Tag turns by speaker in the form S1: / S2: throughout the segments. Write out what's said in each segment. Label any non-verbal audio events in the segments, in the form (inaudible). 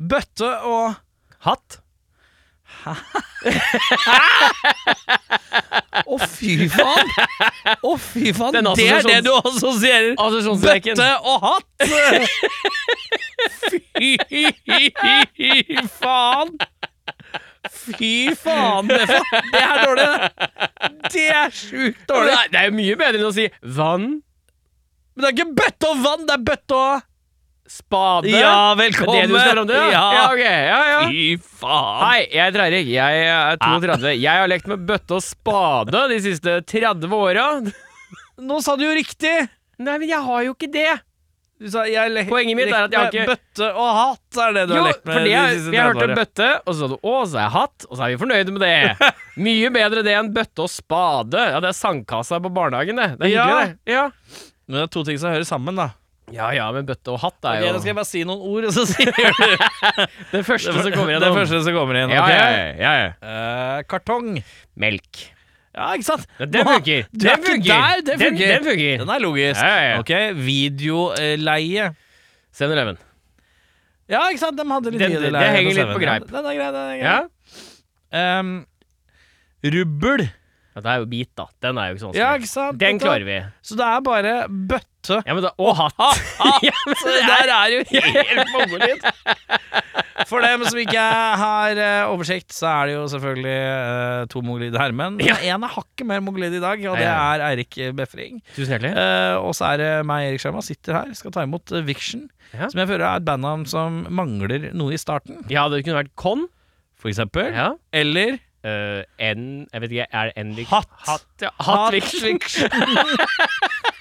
S1: Bøtte og
S2: Hatt?
S1: Å, fy faen! Å, fy faen!
S2: Den
S1: Det er det
S2: assosiasjon-
S1: du assosierer!
S2: Assosiasjonsreken.
S1: Bøtte og hatt! Fy faen! Fy faen! Det er, fa- det er dårlig, det. Det er sjukt dårlig.
S2: (laughs) Nei, Det er jo mye bedre enn å si vann,
S1: Men det er ikke bøtte og vann, det er bøtte og
S2: spade
S1: Ja,
S2: Det er det du snakker om, du?
S1: Ja.
S2: ja ok. Ja, ja.
S1: Fy faen.
S2: Hei, jeg heter Eirik. Jeg er
S1: Ah.
S2: 32. Jeg har lekt med bøtte og spade de siste 30 åra.
S1: Nå sa du jo riktig!
S2: Nei, men jeg har jo ikke det.
S1: Du sa, jeg le-
S2: Poenget mitt er at jeg har
S1: lekte
S2: ikke-
S1: Bøtte og hatt er det du
S2: Jo,
S1: har lekt med
S2: for det
S1: de
S2: er,
S1: siste
S2: jeg
S1: 30
S2: hørte
S1: årene.
S2: bøtte, og så sa du å, så er jeg hatt, og så er vi fornøyde med
S1: (laughs)
S2: det. Mye bedre det enn bøtte og spade. Ja, det er sandkassa på barnehagen, det. Det er hyggelig, det. Ja.
S1: Men det er to ting som hører sammen, da.
S2: ja ja, men bøtte og hatt er
S1: Ok,
S2: jo
S1: da skal jeg bare si noen ord, og så sier du
S2: det første som kommer
S1: Det
S2: gjennom.
S1: første som kommer inn.
S2: Ja,
S1: ok?
S2: ja, ja, ja, ja.
S1: Eh, kartong.
S2: Melk.
S1: Ja, ikke sant?
S2: Ja, den
S1: Nå-
S2: funker.
S1: Du er
S2: Den
S1: ikke
S2: funker.
S1: der, det
S2: Den-
S1: funker.
S2: den funker.
S1: Den er logisk.
S2: Ja, ja, ja.
S1: Ok, Videoleie.
S2: 7-Eleven.
S1: Ja, ikke sant? De hadde litt
S2: Den-
S1: videoleie.
S2: det- det henger litt
S1: scenen.
S2: på greip.
S1: Den er grei, den er grei.
S2: Ja?
S1: Ehm, rubbel.
S2: ja, det er jo bit, da. Den er jo ikke så
S1: Ja,
S2: vanskelig.
S1: ikke sant?
S2: Den klarer vi.
S1: Så det er bare bøtte.
S2: Ja, men da, og hatt. (laughs) ja, men
S1: Så det der er
S2: (laughs)
S1: jo
S2: helt mongolisk.
S1: For dem som ikke har eh, oversikt, så er det jo selvfølgelig eh, to mongolide herremenn.
S2: Ja.
S1: Men Én er hakket mer mongolid i dag, og det
S2: Ja,
S1: er Eirik Befring.
S2: Tusen hjertelig.
S1: Eh, og så er det meg, Erik Skjerma, sitter her, skal ta imot eh, Viction.
S2: Ja.
S1: Som jeg føler er et bandnavn som mangler noe i starten,
S2: Ja, det kunne vært Con.
S1: for eksempel.
S2: Ja.
S1: Eller
S2: Eh, N Jeg vet ikke, er det N-vik?
S1: Hatt.
S2: Hatt, ja. Hatt Viction. (laughs)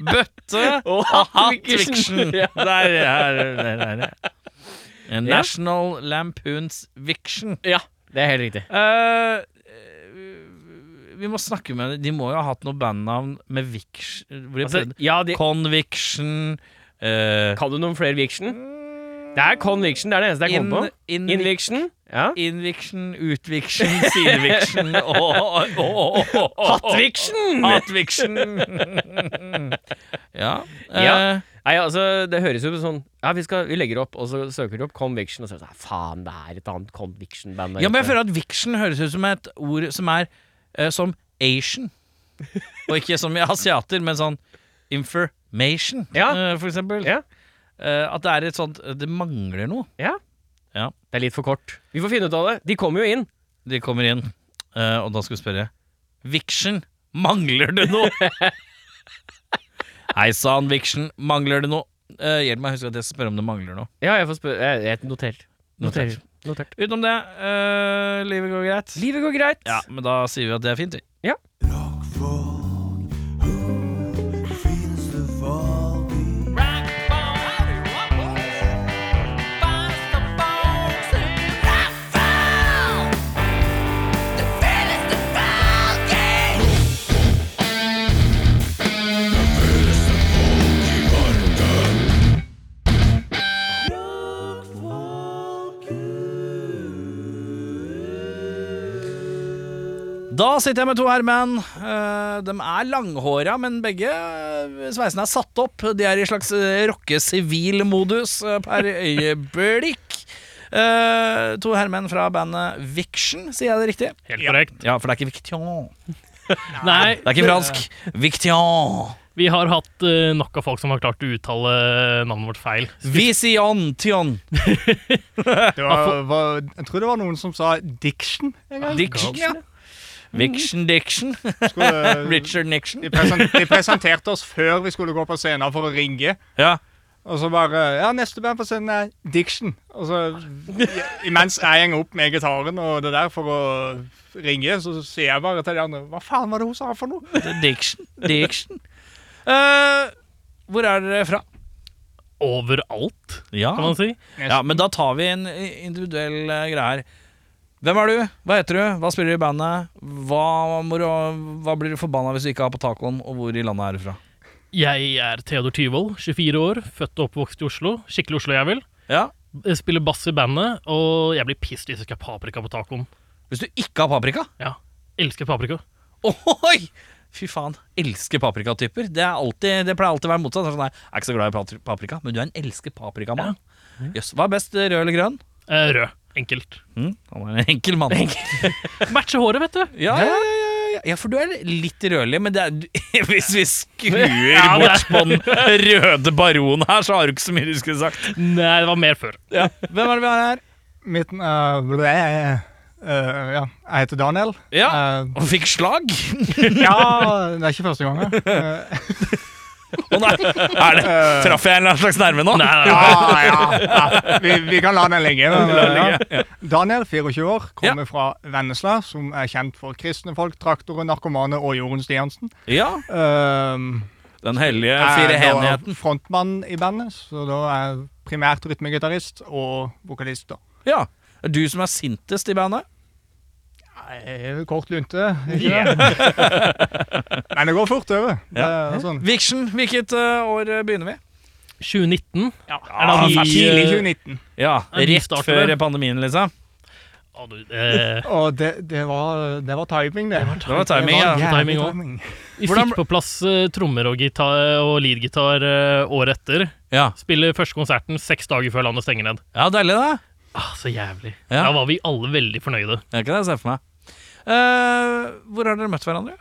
S1: Bøtte
S2: Og
S1: og Hatt
S2: Viction.
S1: Viction.
S2: (laughs) Ja.
S1: Der, er der, er det. Eh, National Lampoons Viction.
S2: ja, det er helt riktig.
S1: Eh, vi må snakke med De må jo ha hatt noe bandnavn med Viction hvor de
S2: Altså,
S1: prøvde-
S2: ja, de,
S1: Conviction eh,
S2: kan du noen flere Viction? Det er Con-Viction, det er det eneste jeg kom på.
S1: in, in,
S2: Inviction. Ja.
S1: Inviction, utviction,
S2: (laughs)
S1: sideviction og
S2: Hatt-Viction!
S1: Hatviction. ja.
S2: Ja.
S1: eh,
S2: Nei, altså, det høres jo sånn Ja, vi, skal, vi legger opp, og så søker du opp Conviction, og så er det sånn Faen, det er et annet Conviction-band. der
S1: ja, men jeg
S2: ute."
S1: føler at viction høres ut som et ord som er eh, som Asian. Og ikke som i asiater, men sånn information,
S2: Ja.
S1: eh, for eksempel.
S2: Ja.
S1: Eh, at det er et sånt Det mangler noe.
S2: Ja.
S1: Ja.
S2: Det er litt for kort. Vi får finne ut av det. De kommer jo inn.
S1: De kommer inn, eh, og da skal vi spørre Viction, mangler du noe? Hei sann, Viction, mangler du noe? Eh, hjelp meg å huske at jeg skal spørre om det mangler noe.
S2: Ja, jeg får spørre Jeg, jeg noterer. Noterer.
S1: Notert.
S2: Notert.
S1: Utenom det, eh, livet går greit.
S2: Livet går greit.
S1: Ja, men da sier vi at det er fint, vi. Da sitter jeg med to herremenn. Eh, De er langhåra, men begge eh, sveisene er satt opp. De er i slags eh, rockesivil-modus eh, per øyeblikk. Eh, to herremenn fra bandet Viction, sier jeg det riktig?
S3: Helt korrekt.
S1: Ja, for det er ikke Viction.
S3: Nei,
S1: Det er ikke fransk. Viction.
S3: vi har hatt eh, nok av folk som har klart å uttale navnet vårt feil.
S1: Vision Tion.
S4: Det var, var, jeg tror det var noen som sa diction en gang.
S1: Diction, ja. Eh, Viction (laughs) Diction.
S4: Skulle-
S1: Richard Nixon.
S4: De, presen, de presenterte oss før vi skulle gå på scenen for å ringe.
S1: Ja.
S4: Og så bare Ja, neste band på scenen er Diction. Og så imens jeg henger opp med gitaren og det der for å ringe, så sier jeg bare til de andre Hva faen var det hun sa for noe?
S1: Diction. Diction. Eh, hvor er dere fra?
S3: Overalt,
S1: Ja.
S3: kan man si.
S1: Ja, men da tar vi en individuell eh, greie her. Hvem er du? Hva heter du? Hva spiller du i bandet? Hva, må du, hva blir du forbanna hvis du ikke har på tacoen, og hvor i landet er du fra?
S3: Jeg er Theodor Tyvold, 24 år, født og oppvokst i Oslo. Skikkelig Oslo, jeg vil.
S1: Ja.
S3: Jeg Spiller bass i bandet, og jeg blir pissed hvis jeg ikke har paprika på tacoen.
S1: Hvis du ikke har paprika?
S3: Ja, elsker paprika.
S1: Ohoi! Fy faen. Elsker paprikatyper. Det, er alltid, det pleier alltid å være motsatt. Det er Sånn, nei, jeg er ikke så glad i pat- paprika, men du er en elsker paprikamann. Jøss. Hva er best, rød eller grønn?
S3: Eh, rød. Enkelt.
S1: Mm, han er en enkel mann.
S3: Matcher håret, vet du.
S1: Ja, ja, ja, ja, ja. ja, for du er litt rødlig, men det er, (laughs) hvis vi skrur
S3: Ja, det-
S1: bort på den røde baron her, så har du ikke så mye du skulle sagt.
S3: Nei, det var mer før.
S1: Hvem er det vi har her?
S4: Mitt eh, ble- eh, Ja, jeg heter Daniel.
S1: Ja,
S4: Eh,
S1: Han fikk slag?
S4: ja, det er ikke første gang.
S1: (laughs)
S4: Uh,
S1: Å nei, er det, traff jeg en eller annen slags nerve nå? Nei,
S4: ja, ja, (laughs) ja. Vi, vi kan la den ligge. men, ja. Daniel, 24 år, kommer fra Vennesla, som er kjent for kristne folk, traktorer, narkomane og Jorunn Stiansen.
S1: Ja,
S4: Uh,
S1: Den hellige firehenigheten.
S4: frontmann i bandet, så da er jeg primært rytmegitarist og vokalist. da.
S1: Ja. Er Du som er sintest i bandet?
S4: Eh, Kort lunte, ikke det? (laughs) Men det går fort over. Det
S1: Ja.
S4: er sånn.
S1: Viksjen, hvilket eh, år eh, begynner vi?
S3: 2019.
S4: Ja,
S3: vi-
S4: tidlig 2019.
S1: Ja,
S3: Ja, vi
S1: Rett
S3: starter
S1: før
S3: det.
S1: pandemien, liksom.
S3: Å, du, eh,
S4: Og det, det, var, det var timing, det.
S1: Det var timing, ja.
S4: jævlig
S3: timing også. vi
S1: Hvordan-
S3: fikk på plass eh, trommer og, gitar, og leadgitar eh, året etter.
S1: Ja,
S3: Spiller første konserten seks dager før landet stenger ned.
S1: ja deilig, det.
S3: Ah, så jævlig.
S1: Ja.
S3: Da var vi alle veldig fornøyde.
S1: Det er ikke det jeg ser for meg. Eh, hvor har dere møtt hverandre?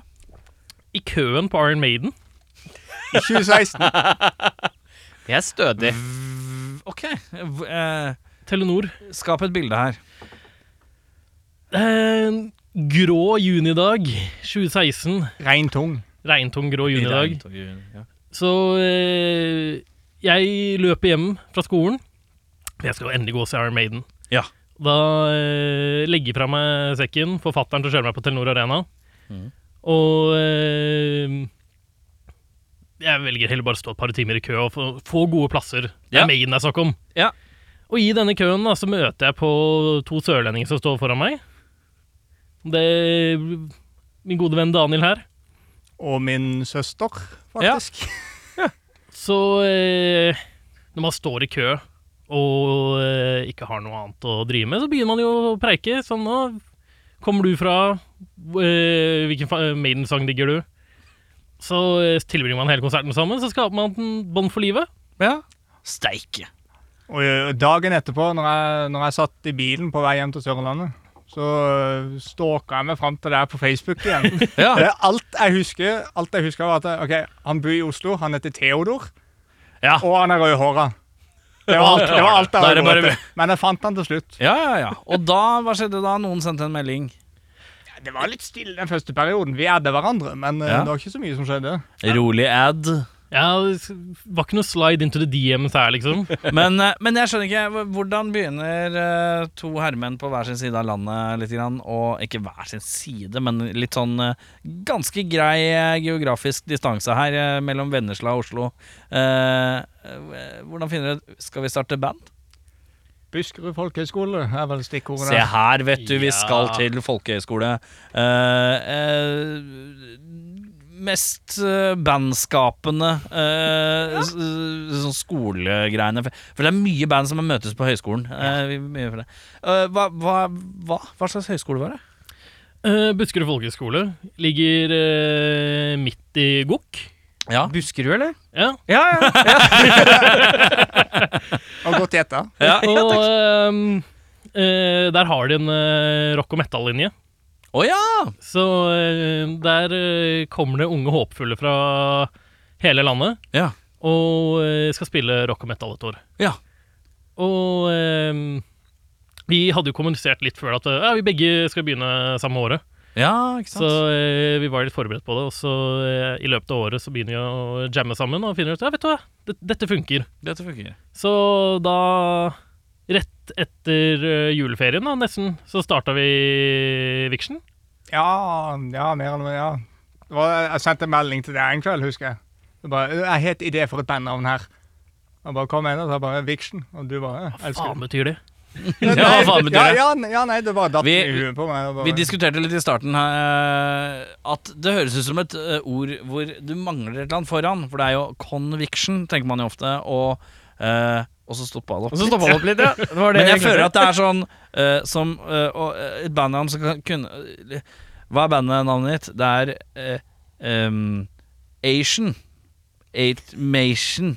S3: I køen på Iron Maiden.
S4: 2016.
S2: Det er stødig.
S1: Ok, eh,
S3: Telenor.
S1: skap et bilde her.
S3: En Eh, grå junidag 2016.
S4: Rein tung.
S3: Regntung grå junidag.
S1: Ja.
S3: Så eh, jeg løper hjem fra skolen. Jeg skal jo endelig gå og se Iron Maiden.
S1: Ja.
S3: Da eh, legger jeg fra meg sekken. Forfatteren som kjører meg på Telenor Arena.
S1: Mhm.
S3: Og eh, jeg velger heller bare å stå et par timer i kø og få, få gode plasser. Det
S1: Ja.
S3: er Maiden det er snakk om.
S1: Ja.
S3: Og i denne køen da, så møter jeg på to sørlendinger som står foran meg. Det er min gode venn Daniel her.
S4: Og min søster, faktisk.
S3: Så eh, når man står i kø og eh, ikke har noe annet å drive med, så begynner man jo å preike. Sånn, nå kommer du fra eh, Hvilken fa- Maiden-sang digger du? Så eh, tilbringer man hele konserten sammen, så skaper man en bånd for livet.
S1: ja. Steike.
S4: Og ø, dagen etterpå, når jeg, når jeg satt i bilen på vei hjem til Sørlandet, så ø, stalka jeg meg fram til det her på
S1: (laughs)
S4: Facebook igjen.
S1: Ja.
S4: Det er alt jeg husker, alt jeg husker var at jeg- ok, han bor i Oslo, han heter Theodor,
S1: Ja.
S4: og han er rødhåra. Det var alt, det var alt jeg
S1: Da er det
S4: hadde
S1: bare-
S4: råd til. Men jeg fant han til slutt.
S1: ja, ja, ja. Og da, hva skjedde da? Noen sendte en melding.
S4: Det var litt stille den første perioden. Vi adde hverandre, men ø,
S1: Ja.
S4: det var ikke så mye som skjedde.
S1: Rolig ad.
S3: Ja, det var ikke noe slide into the DMs her, liksom.
S1: Men, eh, men jeg skjønner ikke, hv- hvordan begynner eh, to herremenn på hver sin side av landet litt grann, og ikke hver sin side, men litt sånn eh, ganske grei eh, geografisk distanse her eh, mellom Vennesla og Oslo. Eh, eh, Hvordan finner dere Skal vi starte band?
S4: Buskerud folkehøgskole er vel stikkordet.
S1: Se her, vet du, vi
S3: Ja.
S1: skal til folkehøyskole. Eh, eh, Mest eh, bandskapende eh, s- s- sånn skolegreiene. For- For det er mye band som møtes på høyskolen. Eh, vi- mye for det. Eh, hva, hva, hva? hva slags høyskole var det?
S3: Eh, Buskerud folkehøgskole ligger eh, midt i Gokk.
S1: Ja,
S2: Buskerud, eller?
S3: Ja,
S1: ja, ja.
S4: Og godt gjetta.
S3: og ehm, eh, der har de en eh, rock og metal-linje.
S1: Å ja!
S3: Så eh, der eh, kommer det unge håpfulle fra hele landet
S1: Ja.
S3: og eh, skal spille rock og metal et år.
S1: Ja.
S3: Og ehm, vi hadde jo kommunisert litt før at eh, ja, vi begge skal begynne samme året.
S1: ja ikke sant?
S3: Så eh, vi var litt forberedt på det. Og så eh, i løpet av året så begynner vi å jamme sammen og finner ut ja, vet du hva, det- dette funker.
S1: Dette funker.
S3: Så da, rett etter eh, juleferien da, nesten, så starta vi Viction.
S4: Ja, ja, mer eller mindre, ja. Det var, jeg sendte en melding til deg en kveld, husker jeg. Jeg, bare, jeg het idé for et bandnavn her. Jeg bare kom inn og sa bare Viction, og du bare «Jeg elsker
S3: Faen
S4: det».
S3: betyr det.
S1: Ja,
S4: Nei,
S1: faen betyr
S4: ja,
S1: det.
S4: ja, nei, ja, nei, det bare datt i
S1: Vi-
S4: huet på meg. og Bare,
S1: Vi diskuterte litt i starten eh, at det høres ut som et eh, ord hvor du mangler et eller annet foran. For det er jo conviction, tenker man jo ofte, og, eh, og så stoppa det
S2: Og
S1: opp.
S2: så stoppa han opp litt, ja. Det var det
S1: (laughs) Men jeg
S2: egentlig.
S1: føler at det er sånn eh, som eh, og, eh, Et bandnavn som kan kunne eh, Hva er bandnavnet ditt? Det er eh, em, Asian. Eight Mation.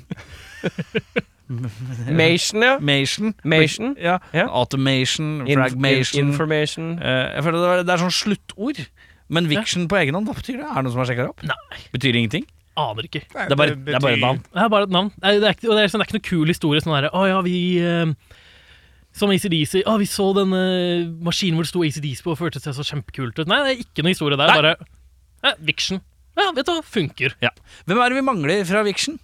S2: Mation, ja.
S1: Mation.
S2: Mation.
S1: Ja.
S2: Ja.
S1: Automation,
S2: Inf-
S1: fragmation
S2: information.
S1: Eh, Jeg føler det, er- det er sånn sluttord. Men Viction på egen hånd, hva betyr det? Er det noen som har sjekka det opp?
S3: Nei,
S1: Betyr ingenting?
S3: aner ikke.
S4: Nei,
S1: Det er bare, det er bare et navn.
S3: Det er bare et navn. Det er, det er, ikke, og det er, sånn, det er ikke noe kul historie. Sånn derre Å ja, vi eh, Som ACDC. Å, vi så denne maskinen hvor det sto ACDC på og følte seg så kjempekult ut. Nei, det er ikke noe historie der.
S1: Nei.
S3: Bare eh, Viction. Ja, vet du hva, funker.
S1: Hvem er det vi mangler fra Viction?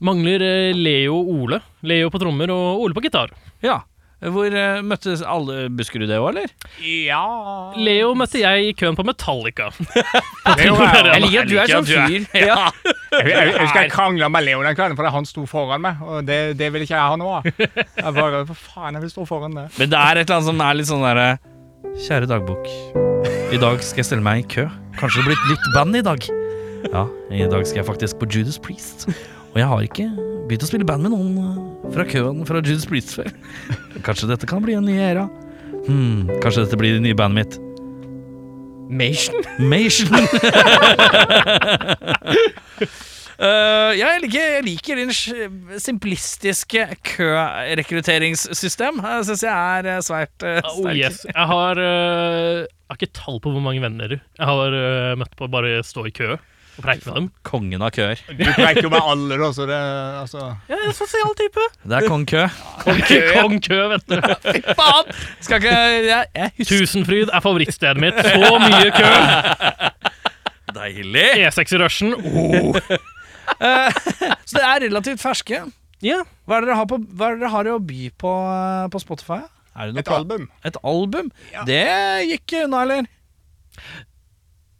S3: Mangler eh, Leo og Ole. Leo på trommer og Ole på gitar.
S1: Ja. Hvor eh, møttes alle Buskerud det òg, eller?
S4: Ja
S3: Leo møtte jeg i køen på Metallica.
S4: Det er jo-
S2: Jeg liker at du er sånn fyr. Ja.
S4: Jeg, jeg, jeg husker jeg krangla med Leo den kvelden fordi han sto foran meg. Og det, det vil ikke jeg ha nå. Jeg bare, for faen, jeg vil stå foran det.
S1: Men det er et eller annet som er litt sånn derre Kjære dagbok. I dag skal jeg stelle meg i kø. Kanskje det blir et nytt band i dag. Ja, i dag skal jeg faktisk på Judas Priest. Og jeg har ikke begynt å spille band med noen eh, fra køen fra Judas Priest før. Kanskje dette kan bli en ny æra. Hmm, kanskje dette blir det nye bandet mitt.
S2: Mation?
S1: (laughs) Mation. Eh, ja, jeg, liker, jeg liker din s- simplistiske kørekrutteringssystem. Det syns jeg er eh, svært eh, sterkt.
S3: Oh yes. Jeg har, eh, jeg har ikke tall på hvor mange venner jeg har eh, møtt på å bare stå i kø og preike med dem.
S1: Kongen av køer.
S4: Du preiker jo med alle, da, så det altså.
S3: Jeg er en sosial type.
S1: Det er kong kø.
S3: (laughs) Kong kø, vet du.
S1: Faen! Skal ikke Jeg, jeg husker
S3: Tusenfryd er favorittstedet mitt. Så mye kø!
S1: Deilig!
S3: E6 i rushen. Oh.
S1: Så det er relativt ferske.
S3: Ja.
S1: Hva er det dere har, på, hva er det dere har å by på eh, på Spotify? Er det noe
S4: Et
S1: på-
S4: album.
S1: Et album? Det gikk unna, eller?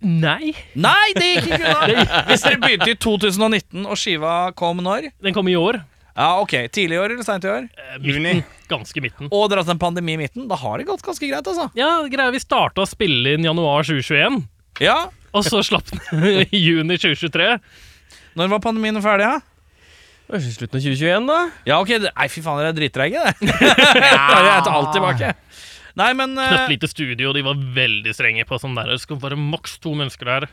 S3: Nei.
S1: Nei, det gikk ikke unna! (laughs) Hvis dere begynte i 2019, og skiva kom når?
S3: Den kom i år.
S1: Ja, ok, Tidlig i år eller seint i år?
S3: Eh,
S4: Juni.
S3: Midten. Ganske midten.
S1: Og dere har hatt en pandemi i midten? Da har det gått ganske greit, altså.
S3: Ja, greia Vi starta å spille inn januar 2021,
S1: Ja,
S3: og så slapp den (laughs) i juni 2023.
S1: Når var pandemien ferdig, da?
S2: Slutten av 2021, da?
S1: Ja? ja, ok, det- Nei, fy faen, dere (laughs) er dritdreige, det. Da har jeg tar alt tilbake. Nei, men eh,
S3: Knøtt lite studio, og de var veldig strenge på sånn der. Det skal være maks to mennesker der.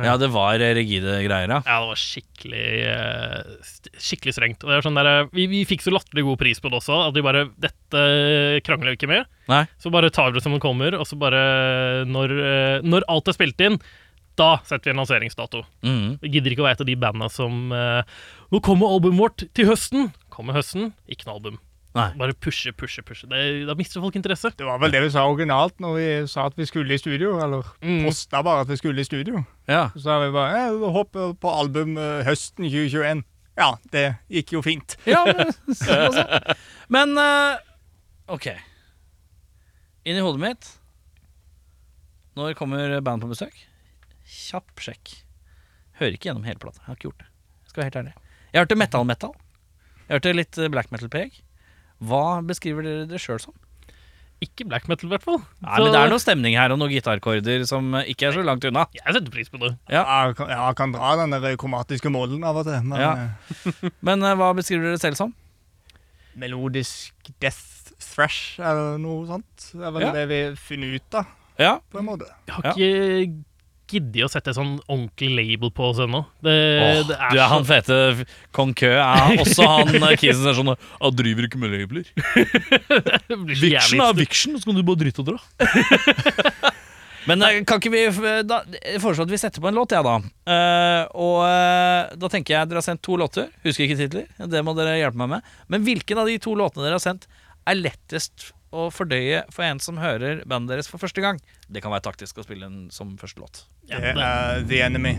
S1: Ja, det var eh, rigide greier, ja.
S3: Ja, det var skikkelig eh, st- Skikkelig strengt. Og det var sånn der, eh, vi, vi fikk så latterlig god pris på det også, at vi bare Dette krangler vi ikke med.
S1: Nei.
S3: Så bare tar vi det som det kommer, og så bare Når, eh, når alt er spilt inn, da setter vi en lanseringsdato.
S1: Mhm.
S3: Vi gidder ikke å være et av de banda som eh, Nå kommer albumet vårt til høsten! Kommer høsten, ikke noe album.
S1: Nei.
S3: Bare pushe, pushe, pushe. Det, da mister folk interesse.
S4: Det var vel det vi sa originalt når vi sa at vi skulle i studio. Eller
S1: Mm.
S3: Mm.
S4: posta bare at vi skulle i studio.
S1: Ja.
S4: Så sa vi bare eh, vi håper på album eh, høsten 2021. Ja, det gikk jo fint.
S1: ja men, sånn også. men eh, OK. Inni hodet mitt Når kommer band på besøk? Kjapp sjekk. Hører ikke gjennom hele plata. Jeg har ikke gjort det. Skal være helt ærlig. Jeg hørte metal-metal. Jeg hørte litt eh, black metal-preg. Hva beskriver dere det sjøl som?
S3: Ikke black metal, i hvert fall.
S1: Nei,
S3: Så
S1: men Det er noe stemning her, og noen gitarkorder som eh, ikke er så langt unna.
S3: Jeg setter pris på det.
S1: Ja.
S4: Jeg kan, ja, jeg kan dra den der kromatiske målen av og til, men
S1: Ja.
S4: eh,
S1: Men eh, hva beskriver dere selv som?
S4: melodisk death thrash eller noe sånt. Det er vel
S1: Ja. Mm.
S4: det vi finner ut av,
S1: Ja,
S4: på en måte.
S3: Jeg har
S1: Ja.
S3: ikke giddet å sette sånn ordentlig label på oss ennå. Det,
S1: Åh,
S3: det
S1: du
S3: er,
S1: Eh, er
S3: så-
S1: han fete f- kong Kø. Er også han eh, kisen som er sånn Han driver ikke med labler.
S3: (laughs) det blir så jævlig-
S1: viksjen, så kan du bare drite og dra. (laughs) Men eh, kan ikke vi f- da, Jeg foreslår at vi setter på en låt, jeg, da. Eh, og eh, da tenker jeg dere har sendt to låter. Husker ikke titler. Det må dere hjelpe meg med. Men hvilken av de to låtene dere har sendt, er lettest å fordøye for en som hører bandet deres for første gang? Det kan være taktisk å spille den som første låt.
S3: Ja,
S4: Det
S3: det-
S4: er The Enemy.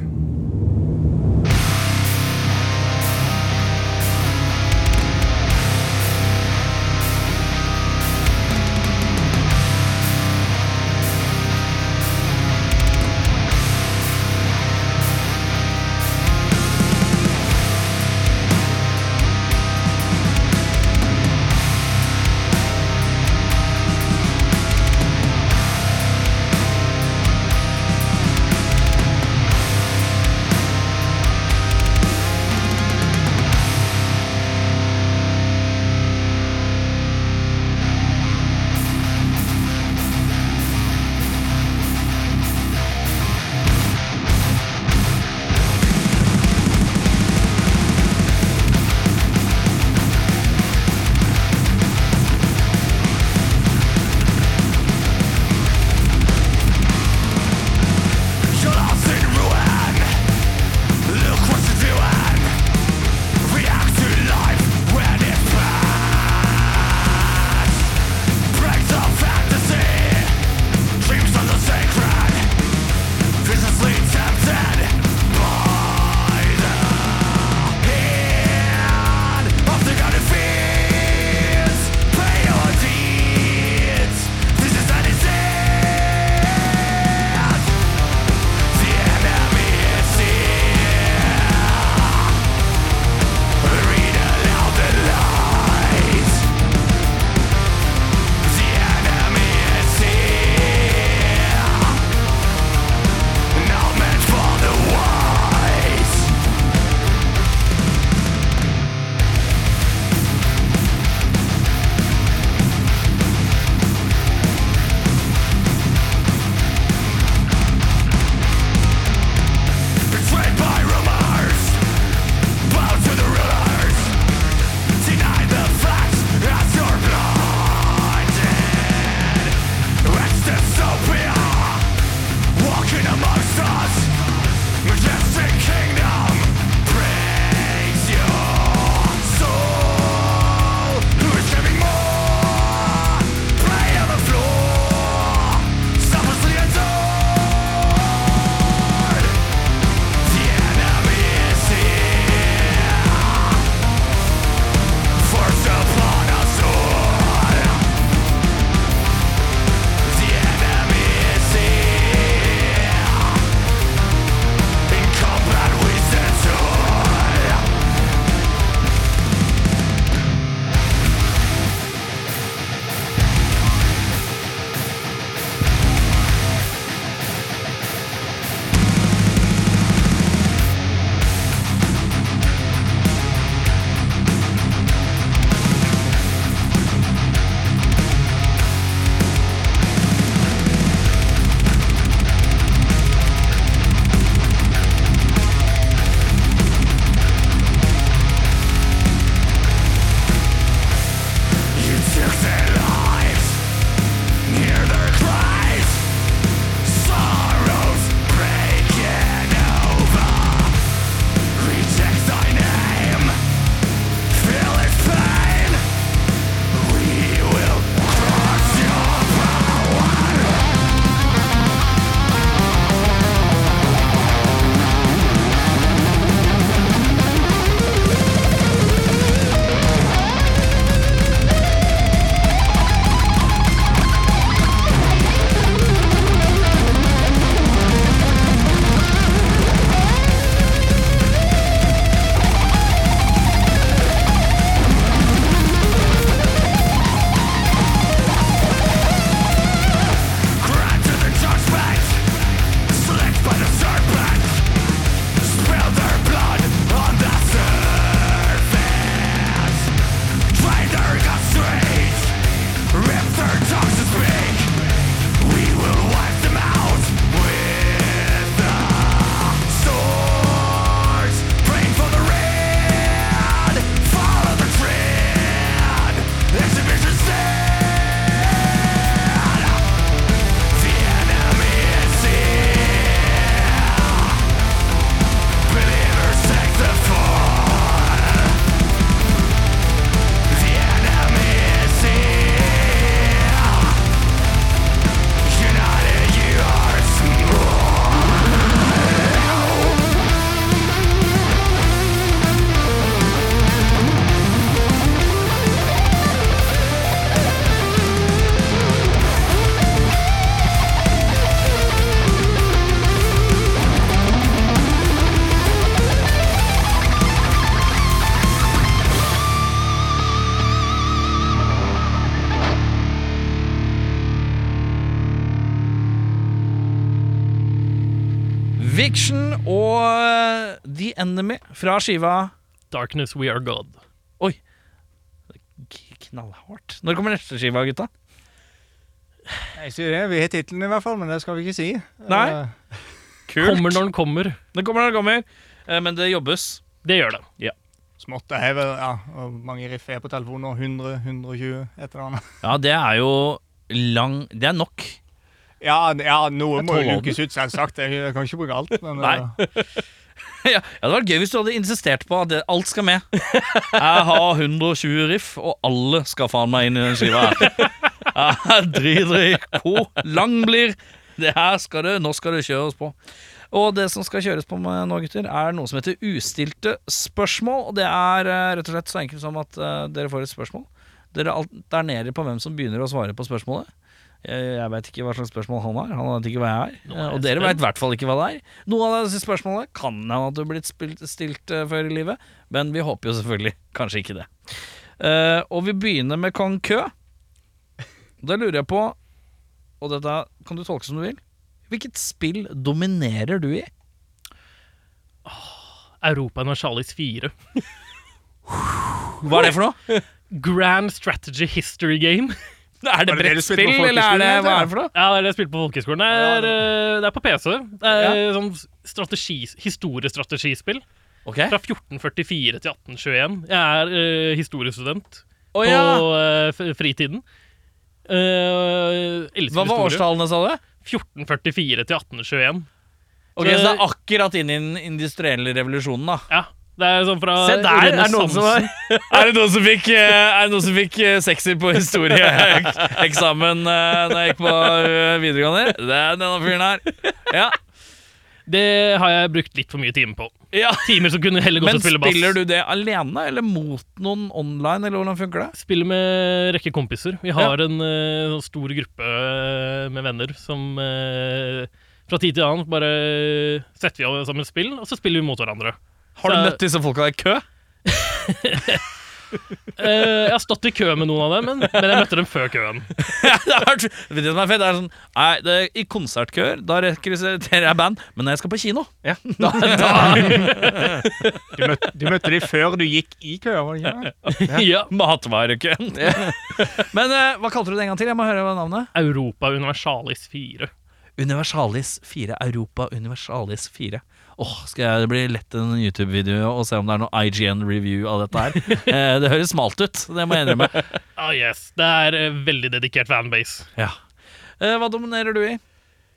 S1: Viction og eh, The Enemy fra skiva
S3: Darkness We Are God.
S1: K- Knallhardt. Når kommer neste skiva, gutta?
S4: Jeg sier det, Vi har tittelen i hvert fall, men det skal vi ikke si.
S1: Nei.
S4: Eh,
S3: Kommer når den kommer.
S1: Den kommer når den kommer, eh, men det jobbes.
S3: Det gjør det.
S4: Smått. Jeg har vel, ja, og mange riff er på telefonen nå. 100, 120, et eller annet.
S1: Ja, det er jo lang Det er nok. (laughs)
S4: Ja, n- ja noe
S1: Jeg
S4: må jo
S1: tåler
S4: lukes ut, selvsagt. Jeg, jeg kan ikke bruke alt. Men,
S1: Nei.
S4: eh,
S1: ja, det hadde vært gøy hvis du hadde insistert på at det, alt skal med. Jeg har 120 riff, og alle skal faen meg inn i den skiva her. Jeg driter i hvor lang blir. Det her skal det, nå skal det kjøres på. Og det som skal kjøres på med nå, gutter, er noe som heter ustilte spørsmål. Og det er eh, rett og slett så enkelt som at eh, dere får et spørsmål. Dere alternerer på hvem som begynner å svare på spørsmålet. Jeg, jeg veit ikke hva slags spørsmål han har, han vet ikke hva jeg er.
S3: Nå er jeg
S1: Og dere
S3: spent.
S1: veit i hvert fall ikke hva det er. Noen av disse spørsmålene kan hende at du har blitt spilt, stilt eh, før i livet, men vi håper jo selvfølgelig kanskje ikke det. Eh, og vi begynner med kong Kø. Da lurer jeg på, og dette kan du tolke som du vil, hvilket spill dominerer du i?
S3: Europa Universalis 4.
S1: Hva er det for noe?
S3: Grand Strategy History Game.
S1: (laughs)
S3: (laughs)
S1: Er det
S4: Var det det du spilte på
S1: eller er det,
S4: folkeskolen,
S1: hva
S4: eller?
S1: er det for noe?
S3: Ja, det er det jeg spilte på folkehøgskolen. Det, er, eh, det er på PC. Det er sånn strategi, historiestrategispill
S1: Ok.
S3: fra 1444 til 1821. Jeg er eh, historiestudent
S1: Å
S3: på
S1: ja.
S3: eh, f- fritiden. Eh, elsker
S1: Hva var
S3: historie.
S1: årstallene, sa du?
S3: 1444 til 1821.
S1: Ok, Så det er akkurat inn i den industrielle revolusjonen, da.
S3: Ja, det er sånn fra
S2: Se der, er det noen som har
S3: renessansen.
S1: (laughs) Er det noen som fikk, eh, er det noen som fikk eh, sekser på (laughs) historieeksamen eh, da jeg gikk på eh, videregående? Det er denne fyren her. Ja.
S3: Det har jeg brukt litt for mye timer på.
S1: ja.
S3: Timer som kunne heller gått
S1: Men
S3: til å spille bass.
S1: spiller du det alene, eller mot noen online, eller hvordan funker det?
S3: Spiller med en rekke kompiser. Vi har en eh, sånn stor gruppe eh, med venner som eh, fra tid til annen bare setter vi av sammen spill, og så spiller vi mot hverandre.
S1: Har du
S3: Så-
S1: møtt disse folka i kø? (laughs)
S3: Eh, jeg har stått i kø med noen av dem, men, men jeg møtte dem før køen.
S1: det er, det vet du hva som er fett, det er sånn Nei, det er, i konsertkøer, da rekrutterer jeg band, men når jeg skal på kino
S2: Ja.
S1: da, da
S4: du, møtte, du møtte de før du gikk i køa, var det ikke det?
S3: (laughs) ja.
S1: (laughs) Matvarekøen. (laughs) men eh, hva kalte du det en gang til? Jeg må høre hva navnet.
S3: Europa Universalis 4.
S1: Universalis 4. Europa Universalis 4. Åh, skal jeg, Det blir lett en YouTube-video og se om det er noe IGN-review av dette (laughs) her. Eh, det høres smalt ut, det må jeg innrømme. (laughs)
S3: Ah, yes. Det er eh, veldig dedikert fanbase.
S1: Ja. Eh, hva dominerer du i?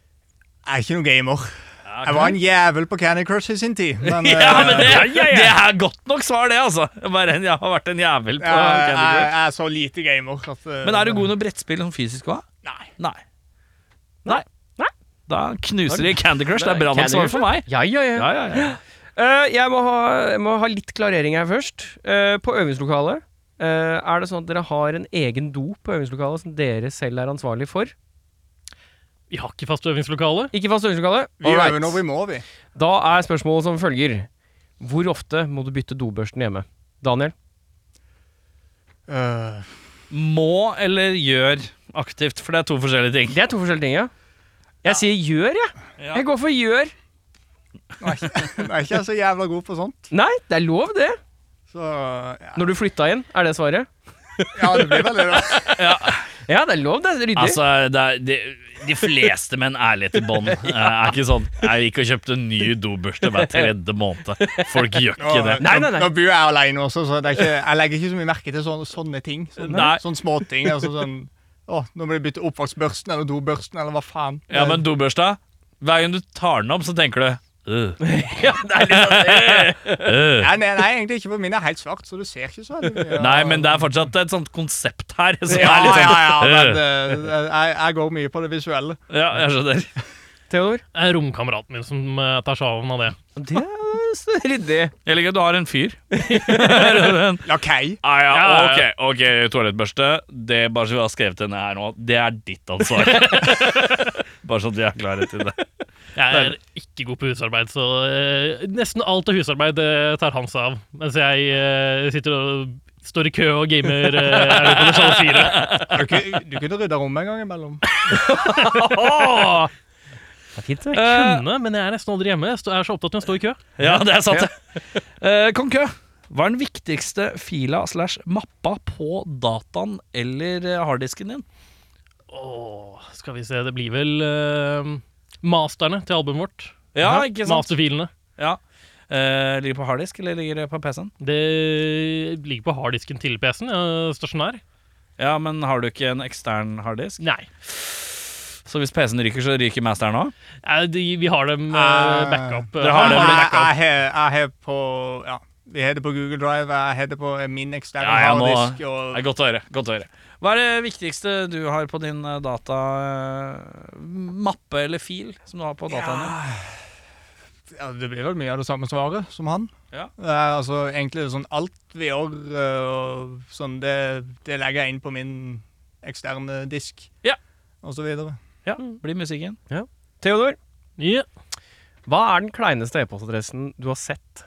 S4: (laughs) Jeg er ikke noen gamer. Jeg var en jævel på Candy Crush i sin tid. Men,
S1: (laughs) Ja, men det,
S4: eh,
S1: det er godt nok svar, det, altså. Bare en, jeg har vært en jævel på
S4: jeg, jeg,
S1: Candy Crush.
S4: jeg er så lite gamer at eh,
S1: Men er du god i noe brettspill sånn fysisk òg?
S4: Nei.
S1: Nei. Nei. Da knuser de Candy Crush. Det er bra nok
S2: Candy
S1: svar
S2: Crush,
S1: for meg.
S2: Ja, ja, ja. Eh, jeg må ha, jeg må ha litt klarering her først. Eh, på øvingslokalet, eh, er det sånn at dere har en egen do på øvingslokalet som dere selv er ansvarlig for?
S3: Vi har ikke fast øvingslokale.
S2: Ikke fast øvingslokale?
S4: Vi
S2: Alright.
S4: øver når vi må, vi.
S2: Da er spørsmålet som følger. Hvor ofte må du bytte dobørsten hjemme? Daniel?
S4: Eh,
S1: Må eller gjør aktivt, for det er to forskjellige ting.
S2: Det er to forskjellige ting, ja. Jeg sier gjør, jeg.
S1: Ja.
S2: Jeg går for gjør.
S4: nå er ikke jeg så jævla god på sånt.
S2: Nei, det er lov, det.
S4: Så ja,
S2: Når du flytta inn, er det svaret?
S4: ja det blir vel det, da.
S2: Ja, det er lov, det er ryddig.
S1: Altså, det er, de, de fleste med en ærlighet i (laughs) bånn eh, er ikke sånn Jeg gikk og kjøpte en ny dobørste hver tredje måned. Folk gjør (laughs) ikke det.
S2: Nei, nei, nei.
S4: Nå, nå bor jeg aleine også, så det er ikke, jeg legger ikke så mye merke til sånne, sånne ting. Sånne,
S1: Nei.
S4: sånne småting. Altså sånn Å, nå må de bytte oppvaskbørsten eller dobørsten eller hva faen.
S1: Ja, men dobørsta Hver gang du tar den opp, så tenker du øh,
S2: ja, det er litt sånn.
S1: øh.
S4: Nei, nei, nei, egentlig ikke, for min er helt svart, så du ser ikke så veldig mye.
S1: Nei, men det er fortsatt et sånt konsept her som
S4: ja,
S1: er litt
S4: ja,
S1: sånn
S4: ja, men
S1: øh.
S4: eh, jeg, jeg går mye på det visuelle.
S1: Ja, jeg skjønner.
S2: Theodor?
S3: Det er romkameraten min som eh, tar seg av av det.
S2: Det er så ryddig.
S1: Jeg liker at du har en (laughs) fyr. Den-
S4: Lakei.
S1: Ah, ja,
S3: Ja, ja,
S1: ok, ok, toalettbørste. Det bare så vi har skrevet henne her nå, det er ditt (laughs) ansvar. bare sånn at vi er klare til det.
S3: Jeg er ikke god på husarbeid, så eh, nesten alt av husarbeid eh, tar han seg av. Mens jeg eh, sitter og står i kø og gamer uh, Europa Universalis 4. (laughs)
S4: Du, ku- du kunne rydda rommet en gang imellom.
S3: Åh!
S2: Det er fint, det.
S3: Jeg
S1: Eh,
S3: kunne, men jeg er nesten aldri hjemme. Jeg stå- er så opptatt med å stå i kø.
S1: ja, det er sant, det. Eh, Kong Kø, hva er den viktigste fila slash mappa på dataen eller eh, harddisken din?
S3: Åh, skal vi se, det blir vel eh, masterne til albumet vårt.
S1: Ja, ikke sant?
S3: Masterfilene.
S1: Ja. Eh, ligger det på harddisk, eller ligger det på PC-en?
S3: Det ligger på harddisken til PC-en, ja, stasjonær.
S1: Ja, men har du ikke en ekstern harddisk?
S3: Nei.
S1: Så hvis PC-en ryker, så ryker masteren òg?
S3: Eh, de, vi har dem eh,
S4: Ah.
S3: backup. eh,
S1: Dere har
S4: Jeg
S1: det
S3: dem
S1: dem
S4: jeg-
S3: backup.
S4: jeg har jeg har på Ja, vi har det på Google Drive. Jeg har det på min eksterne
S1: Ja, jeg må-
S4: harddisk.
S1: Det er
S4: Og,
S1: godt å høre. godt å høre Hva er det viktigste du har på din eh, data eh, Mappe eller fil som du har på dataen din?
S4: ja, det blir vel mye av det samme svaret som han.
S1: Ja.
S4: Det er altså egentlig sånn alt vi gjør, eh, og sånn det, det legger jeg inn på min eksterne disk.
S1: Ja.
S4: Og så videre.
S1: Ja, blir musikken.
S2: Theodor,
S3: Ja.
S2: hva er den kleineste e-postadressen du har sett?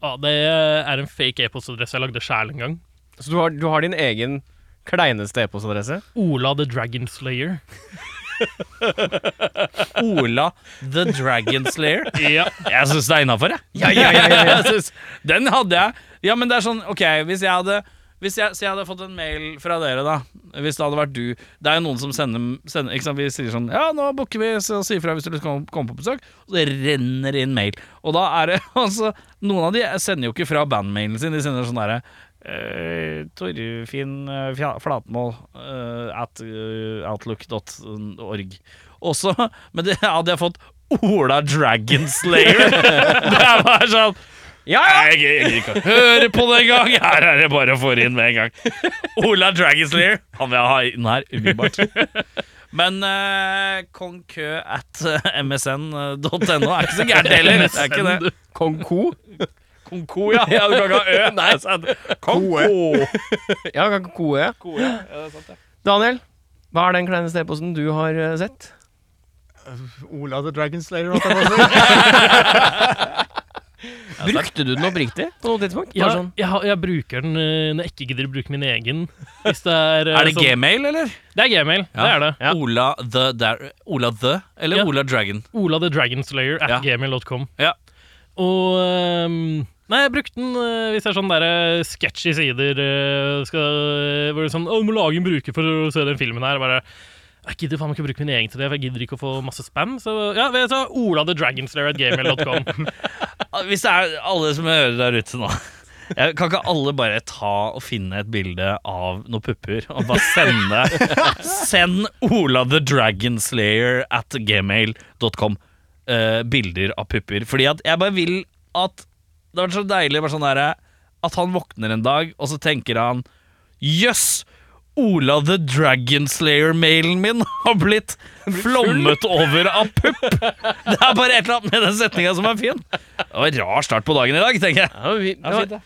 S3: Ja, det er en fake e-postadresse jeg lagde sjæl en gang.
S2: Så du har, du har din egen kleineste e-postadresse?
S3: Ola the Dragon Slayer.
S1: Ola the Dragon Slayer.
S3: Ja.
S1: Jeg syns det er innafor, jeg.
S2: Ja, ja, ja, ja, ja.
S1: (laughs) Jeg synes- Den hadde jeg. Ja, men det er sånn, ok, hvis jeg hadde hvis jeg, så jeg hadde fått en mail fra dere, da Hvis det hadde vært du Det er jo noen som sender, sender ikke sant? Vi sier sånn Ja, nå booker vi så sier fra hvis du vil komme, komme på besøk. Og det renner inn mail. Og da er det (laughs) altså Noen av de sender jo ikke fra bandmailen sin. De sender sånn derre Uh, Torfinn eh, Fja- Flatmål eh, at eh, outlook.org. Også Men det hadde jeg fått Ola (laughs) Dragonslayer. det er bare sånn ja, ja. Jeg gidder ikke å høre på det engang! Her er det bare å få det inn med en gang. Ola Dragonslayer. Han vil jeg ha inn her umiddelbart. Men eh, kong kø at eh, msn.no er ikke så gærent heller. Det er ikke det.
S2: Kong Ko?
S1: Kong ko, ja. ja. Du kan ikke ha ø. Nei, sant. Kong ko.
S2: (laughs) Ja, kan ikke koe. Daniel, hva er den kleineste e-posten du har eh, sett?
S4: Ola the Dragon Slayer, holdt jeg på å si.
S2: Brukte du den oppriktig på noe tidspunkt?
S3: Ja,
S2: Bare sånn.
S3: jeg, har- jeg bruker den eh, når jeg ikke gidder å bruke min egen. Hvis det er, eh,
S1: (laughs) Er det
S3: sånn-
S1: gmail, eller?
S3: Det er gmail. Det er det.
S1: Ola the der, Ola the, eller
S3: Ja.
S1: Ola Dragon. (laughs)
S3: Ola the Dragon Slayer at
S1: Ja.
S3: gmail.com.
S1: Ja.
S3: Og ehm, Nei, jeg brukte den eh, hvis det er sånn der eh, sketchy sider eh, skal, Hvor det er sånn Å, du må lage en bruker for å se den filmen her. Bare jeg gidder faen meg ikke å bruke min egen til det, for jeg gidder ikke å få masse spam. Så ja, vet du, hva, Ola the Dragon Slayer at
S1: (laughs)
S3: gmail.com.
S1: Hvis det er alle som hører der ute nå jeg, Kan ikke alle bare ta og finne et bilde av noen pupper og bare
S3: (laughs)
S1: sende Send Ola the Dragon Slayer at gmail.com eh, bilder av pupper. Fordi at jeg bare vil at Det har vært så deilig bare sånn derre at han våkner en dag, og så tenker han Jøss! Ola the Dragon Slayer-mailen min har blitt flommet over av pupp! Det er bare et eller annet med den setninga som er fin. Det var en rar start på dagen i dag, tenker jeg.
S2: Ja, vi,
S1: Ja, fint, det.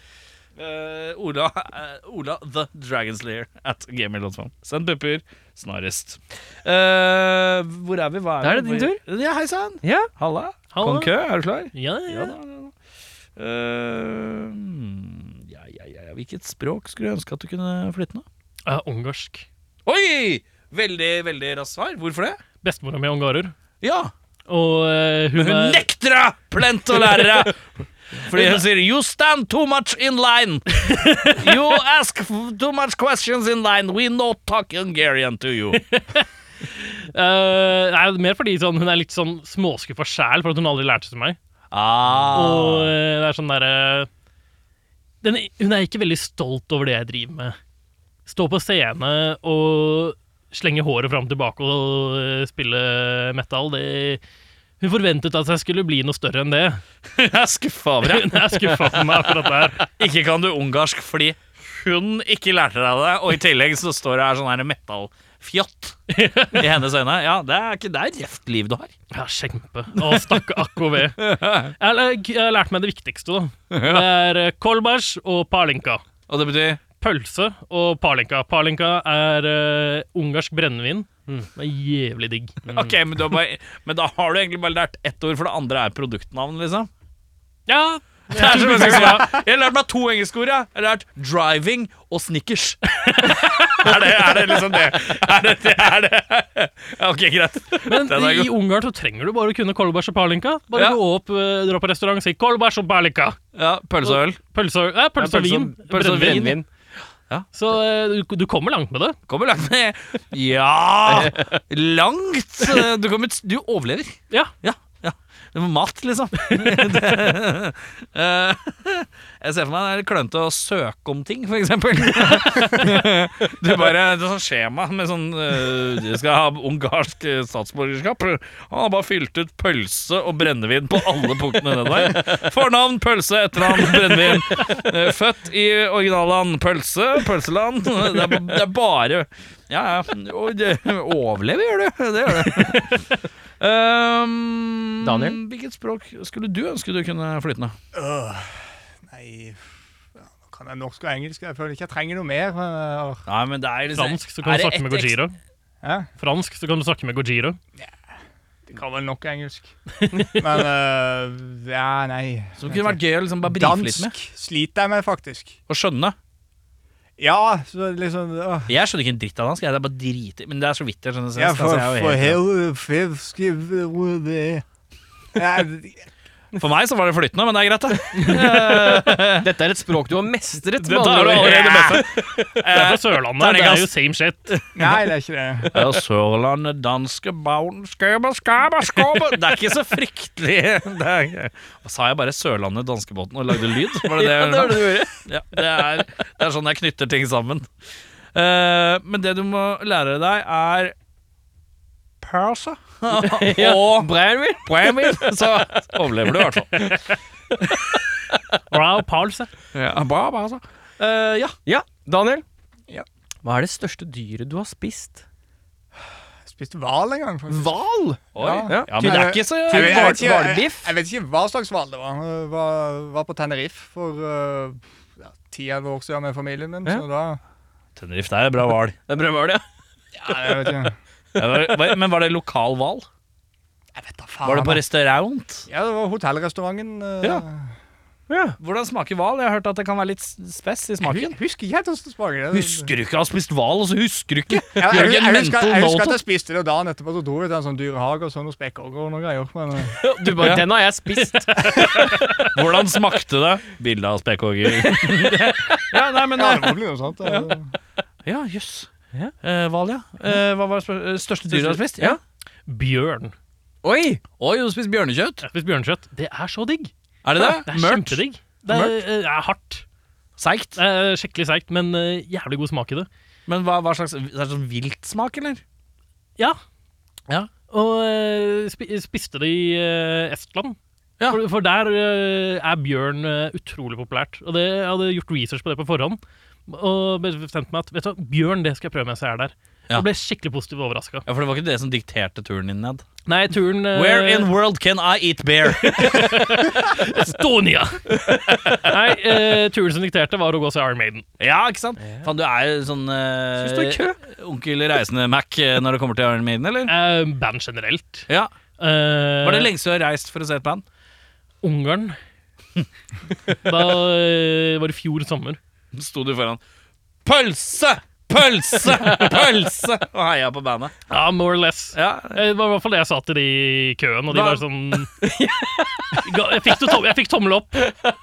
S1: Eh, Ola, eh, Ola the Dragonslayer at gamer.com. Send pupper snarest. Eh, hvor er vi? Hva
S2: Da
S1: vi?
S2: er det din
S1: tur. Ja, Hei sann.
S2: ja.
S1: Halla.
S3: Hallo.
S1: Kong Kø, er du klar?
S3: Ja, ja, ja.
S1: da, da. Eh, hmm, ja, ja, ja, ja. Hvilket språk skulle du ønske at du kunne flytte nå?
S3: Eh, ungarsk.
S1: Oi! Veldig veldig raskt svar. Hvorfor det?
S3: Bestemora mi er ungarer.
S1: Ja,
S3: Og eh, hun,
S1: Hun
S3: er-
S1: nekter deg plent å lære (laughs) deg! Fordi hun sier 'You stand too much in (laughs) line'. 'You ask f- too much questions in line. We not talk Hungarian to you'.
S3: Eh, nei, mer fordi sånn, hun er litt sånn småskuffa sjæl for at hun aldri lærte seg meg. Og
S1: Ah.
S3: eh, det er sånn derre den- Hun er ikke veldig stolt over det jeg driver med. Stå på scene og slenge håret fram og tilbake og eh, spille metal, det Hun forventet at jeg skulle bli noe større enn det.
S1: (laughs) Jeg er skuffa over deg.
S3: Hun er skuffa på meg for dette her.
S1: Ikke kan du ungarsk fordi hun ikke lærte deg det, og i tillegg så står det her sånn her metallfjott i hennes øyne. Ja, det er ikke det er røft liv du har.
S3: Ja, kjempe. Å, stakke akk og ve. Jeg har- jeg har lært meg det viktigste, da. Det er eh, kolbasj og palinka.
S1: (laughs) Og det betyr
S3: Pølse og palinka. Palinka er eh, ungarsk brennevin. Det er jævlig digg.
S1: Ok, men, du har bare, men da har du egentlig bare lært ett ord, for det andre er produktnavn, liksom?
S3: Ja,
S1: Det er så mye engelske ord, ja. Jeg har lært meg to engelske ord. ja. Jeg har lært 'driving' og (laughs) 'snickers'. er, det, er det liksom det? Er det det? Er det? Ja, ok, greit.
S3: Men
S1: Den er
S3: i Ungarn så trenger du bare å kunne kolbæsj og perlinka. Bare
S1: Ja.
S3: gå opp, eh, dra på restaurant og si 'kolbæsj og perlinka'.
S1: Ja, Pølse og øl.
S3: Pølse og eh, pølse og vin.
S2: Pølse og
S3: Brennevin.
S2: sånn brennevin.
S3: Så eh, du, du kommer langt med det.
S1: Kommer langt ned. Ja! Langt! Du, kommer, du overlever.
S3: Ja.
S1: Ja, ja. Det var mat, liksom. (laughs) Det- Eh, jeg ser for meg det er klønete å søke om ting, for eksempel. (laughs) Du bare, det er sånn skjema med sånn eh, Du skal ha ungarsk eh, statsborgerskap. Han har bare fylt ut pølse og brennevin på alle punktene nedover. Fornavn pølse, etternavn brennevin. Eh, Født i originalland pølse, pølseland. Det er, det er bare Ja, ja. Og det- Overleve gjør du. Det gjør du. Ehm,
S2: Daniel?
S1: Hvilket språk skulle du ønske du kunne flytende?
S4: Øh, nei ja, nå kan jeg norsk og engelsk. Jeg føler ikke jeg trenger noe mer. men, øh,
S1: Nei, men det er liksom
S3: Fransk, så kan
S1: Er
S3: du
S1: det
S3: snakke med
S1: ett
S3: Gojira.
S4: Ja,
S3: Fransk, så kan du snakke med Gojira.
S4: det kan vel nok
S1: (laughs)
S4: engelsk. Men øh, ja, nei.
S1: ekstra Som kunne vært gøy å liksom bare brife litt med
S4: Dansk sliter jeg med, faktisk.
S1: og skjønne.
S4: Ja, så liksom øh.
S1: Jeg skjønner ikke en dritt av dansk, jeg. Det er bare driter Men det er så vidt jeg skjønner svensk.
S4: Ja, for,
S1: altså, jeg er jo
S4: for
S1: helt-
S4: hel- for skriv- hvor det Ja,
S1: For meg så var det flytende, men det er greit, det.
S2: Dette er et språk du har mestret. med
S1: Dette
S2: andre
S1: er jo
S2: ord.
S1: allerede beste.
S2: (laughs) Ja.
S3: Det er fra Sørlandet. Det er jo same shit.
S4: Nei, det er ikke det.
S1: Ja, Sørlandet, danske baun, skøbe, skøbe, skøbe. Det er ikke så fryktelig det er, ikke- Sa jeg bare Sørlandet, danskebåten og lagde lyd? Var det det?
S2: Ja,
S1: jeg
S2: det var
S1: gjorde?
S2: det du gjorde.
S1: Ja, det, er, det er sånn jeg knytter ting sammen. Eh, men det du må lære deg, er Persa.
S2: Og brennevin.
S1: Brahmin, så overlever du i hvert fall.
S3: Wow, pals, ja.
S1: Ja, bra, bra, altså. Eh, ja.
S2: Ja, Daniel.
S4: Ja.
S2: Hva er det største dyret du har spist?
S4: Jeg spiste hval en gang. faktisk.
S2: Hval!
S1: Oi.
S2: Ja.
S1: Ja. men det er ikke så
S4: Jeg,
S2: Typ hval-
S4: vet- jeg, vet ikke- jeg,
S2: hvalbiff?
S4: jeg vet ikke hva slags hval det var. Jeg var, var på Tenerife for øh, ja, 10-11 år siden med familien min,
S2: Ja.
S4: så da
S1: Tenerife, det er bra hval.
S2: Det er brødhval, ja.
S4: Ja, jeg vet ikke.
S1: Men var det lokal hval?
S4: Jeg vet da faen.
S1: Var det på
S4: jeg.
S1: restaurant?
S4: Ja, det var hotellrestauranten. øh,
S1: Ja.
S2: ja.
S1: Hvordan smaker hval? Jeg har hørt at det kan være litt spess i
S4: Jeg
S1: smaken.
S4: husker ikke helt hvordan det smaker.
S1: Husker du ikke å ha spist hval, og så husker du ikke?
S4: Jeg, jeg,
S1: Gjør
S4: jeg,
S1: ikke en
S4: jeg, husker, jeg
S1: mental
S4: husker at
S1: note.
S4: jeg spiste det, og dagen etterpå så dro vi til en sånn dyrehage og så noen spekkorger og noen greier. Men øh,
S2: Du bare, Den har jeg spist.
S1: Hvordan smakte det? Bilde av spekkhogger. (laughs) ja, nei, men
S4: ja,
S1: eh,
S4: det må bli noe sånt. øh.
S1: (laughs) Ja, jøss.
S2: Ja.
S1: Eh, Hval, ja. Eh, hva var det spør- eh, største dyret du har spist?
S2: Ja.
S3: Bjørn.
S2: Oi!
S1: Oi, du har spist bjørnekjøtt?
S3: Jeg har spist bjørnekjøtt. Det er så digg.
S1: Er det det?
S3: Det er
S1: Mørkt?
S3: kjempedigg. Det er, eh, det er hardt.
S1: Seigt?
S3: Det er skikkelig seigt, men eh, jævlig god smak i det.
S1: Men hva, hva slags Det er sånn viltsmak, eller?
S3: Ja.
S1: Ja.
S3: Og eh, spi spiste det i eh, Estland.
S1: Ja.
S3: For, for der eh, er bjørn eh, utrolig populært. Og det, jeg hadde gjort research på det på forhånd. Og bestemte meg at vet du, hva, bjørn det skal jeg prøve mens jeg er der.
S1: Ja.
S3: Jeg ble skikkelig positivt overraska.
S1: Ja, For det var ikke det som dikterte turen din ned?
S3: Nei, turen eh,
S1: Where in world can I eat bear?
S3: Estonia! (laughs) Nei, eh, turen som dikterte, var å gå og se Iron Maiden.
S1: (laughs) ja, ikke sant? Faen, du er jo sånn eh,
S2: Skal vi stå i
S1: onkel reisende Mac eh, når det kommer til Iron Maiden, eller?
S3: Eh, band generelt.
S1: Ja.
S3: Eh,
S1: Var det lengst du har reist for å se et band?
S3: Ungarn. da eh, var det i fjor sommer.
S1: Sto du foran Pølse! Pølse! Pølse! Og heia på bandet.
S3: Ja, more or less.
S1: Ja,
S3: Eh, Det var i hvert fall det jeg sa til de i køen, og de
S1: Hva-
S3: var sånn (laughs) Ga- jeg fikk, det tom, jeg fikk tommel opp. Eh,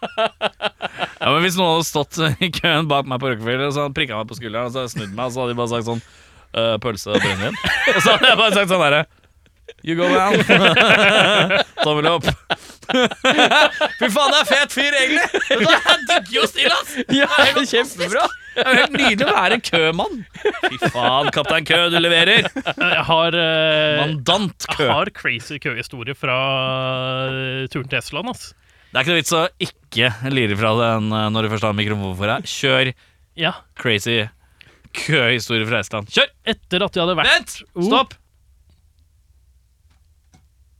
S1: Ja, men Hvis noen hadde stått i køen bak meg på Rockefeller og så hadde han prikka meg på skulderen og så hadde jeg snudd meg, og så hadde de bare sagt sånn «Øh, Pølse og brennevin. Og så hadde jeg bare sagt sånn herre You go down. Tommel opp. Fy faen, det er fet fyr, egentlig! Vet du hva, Jeg digger jo Still, ass!
S2: Ja, Kjempebra!
S1: Det er jo helt nydelig å være en kømann. Fy faen, kaptein Kø, du leverer.
S3: Eh, Jeg har, eh,
S1: Mandant
S3: jeg
S1: Kø.
S3: har crazy køhistorie fra eh, turen til Estland, ass.
S1: Det er ikke noe vits å ikke lire fra den eh, når du først har mikrofon for deg. Kjør
S3: Ja.
S1: crazy køhistorie fra Estland. Kjør! Oh.
S3: Etter at jeg hadde vært
S1: Vent! Stopp!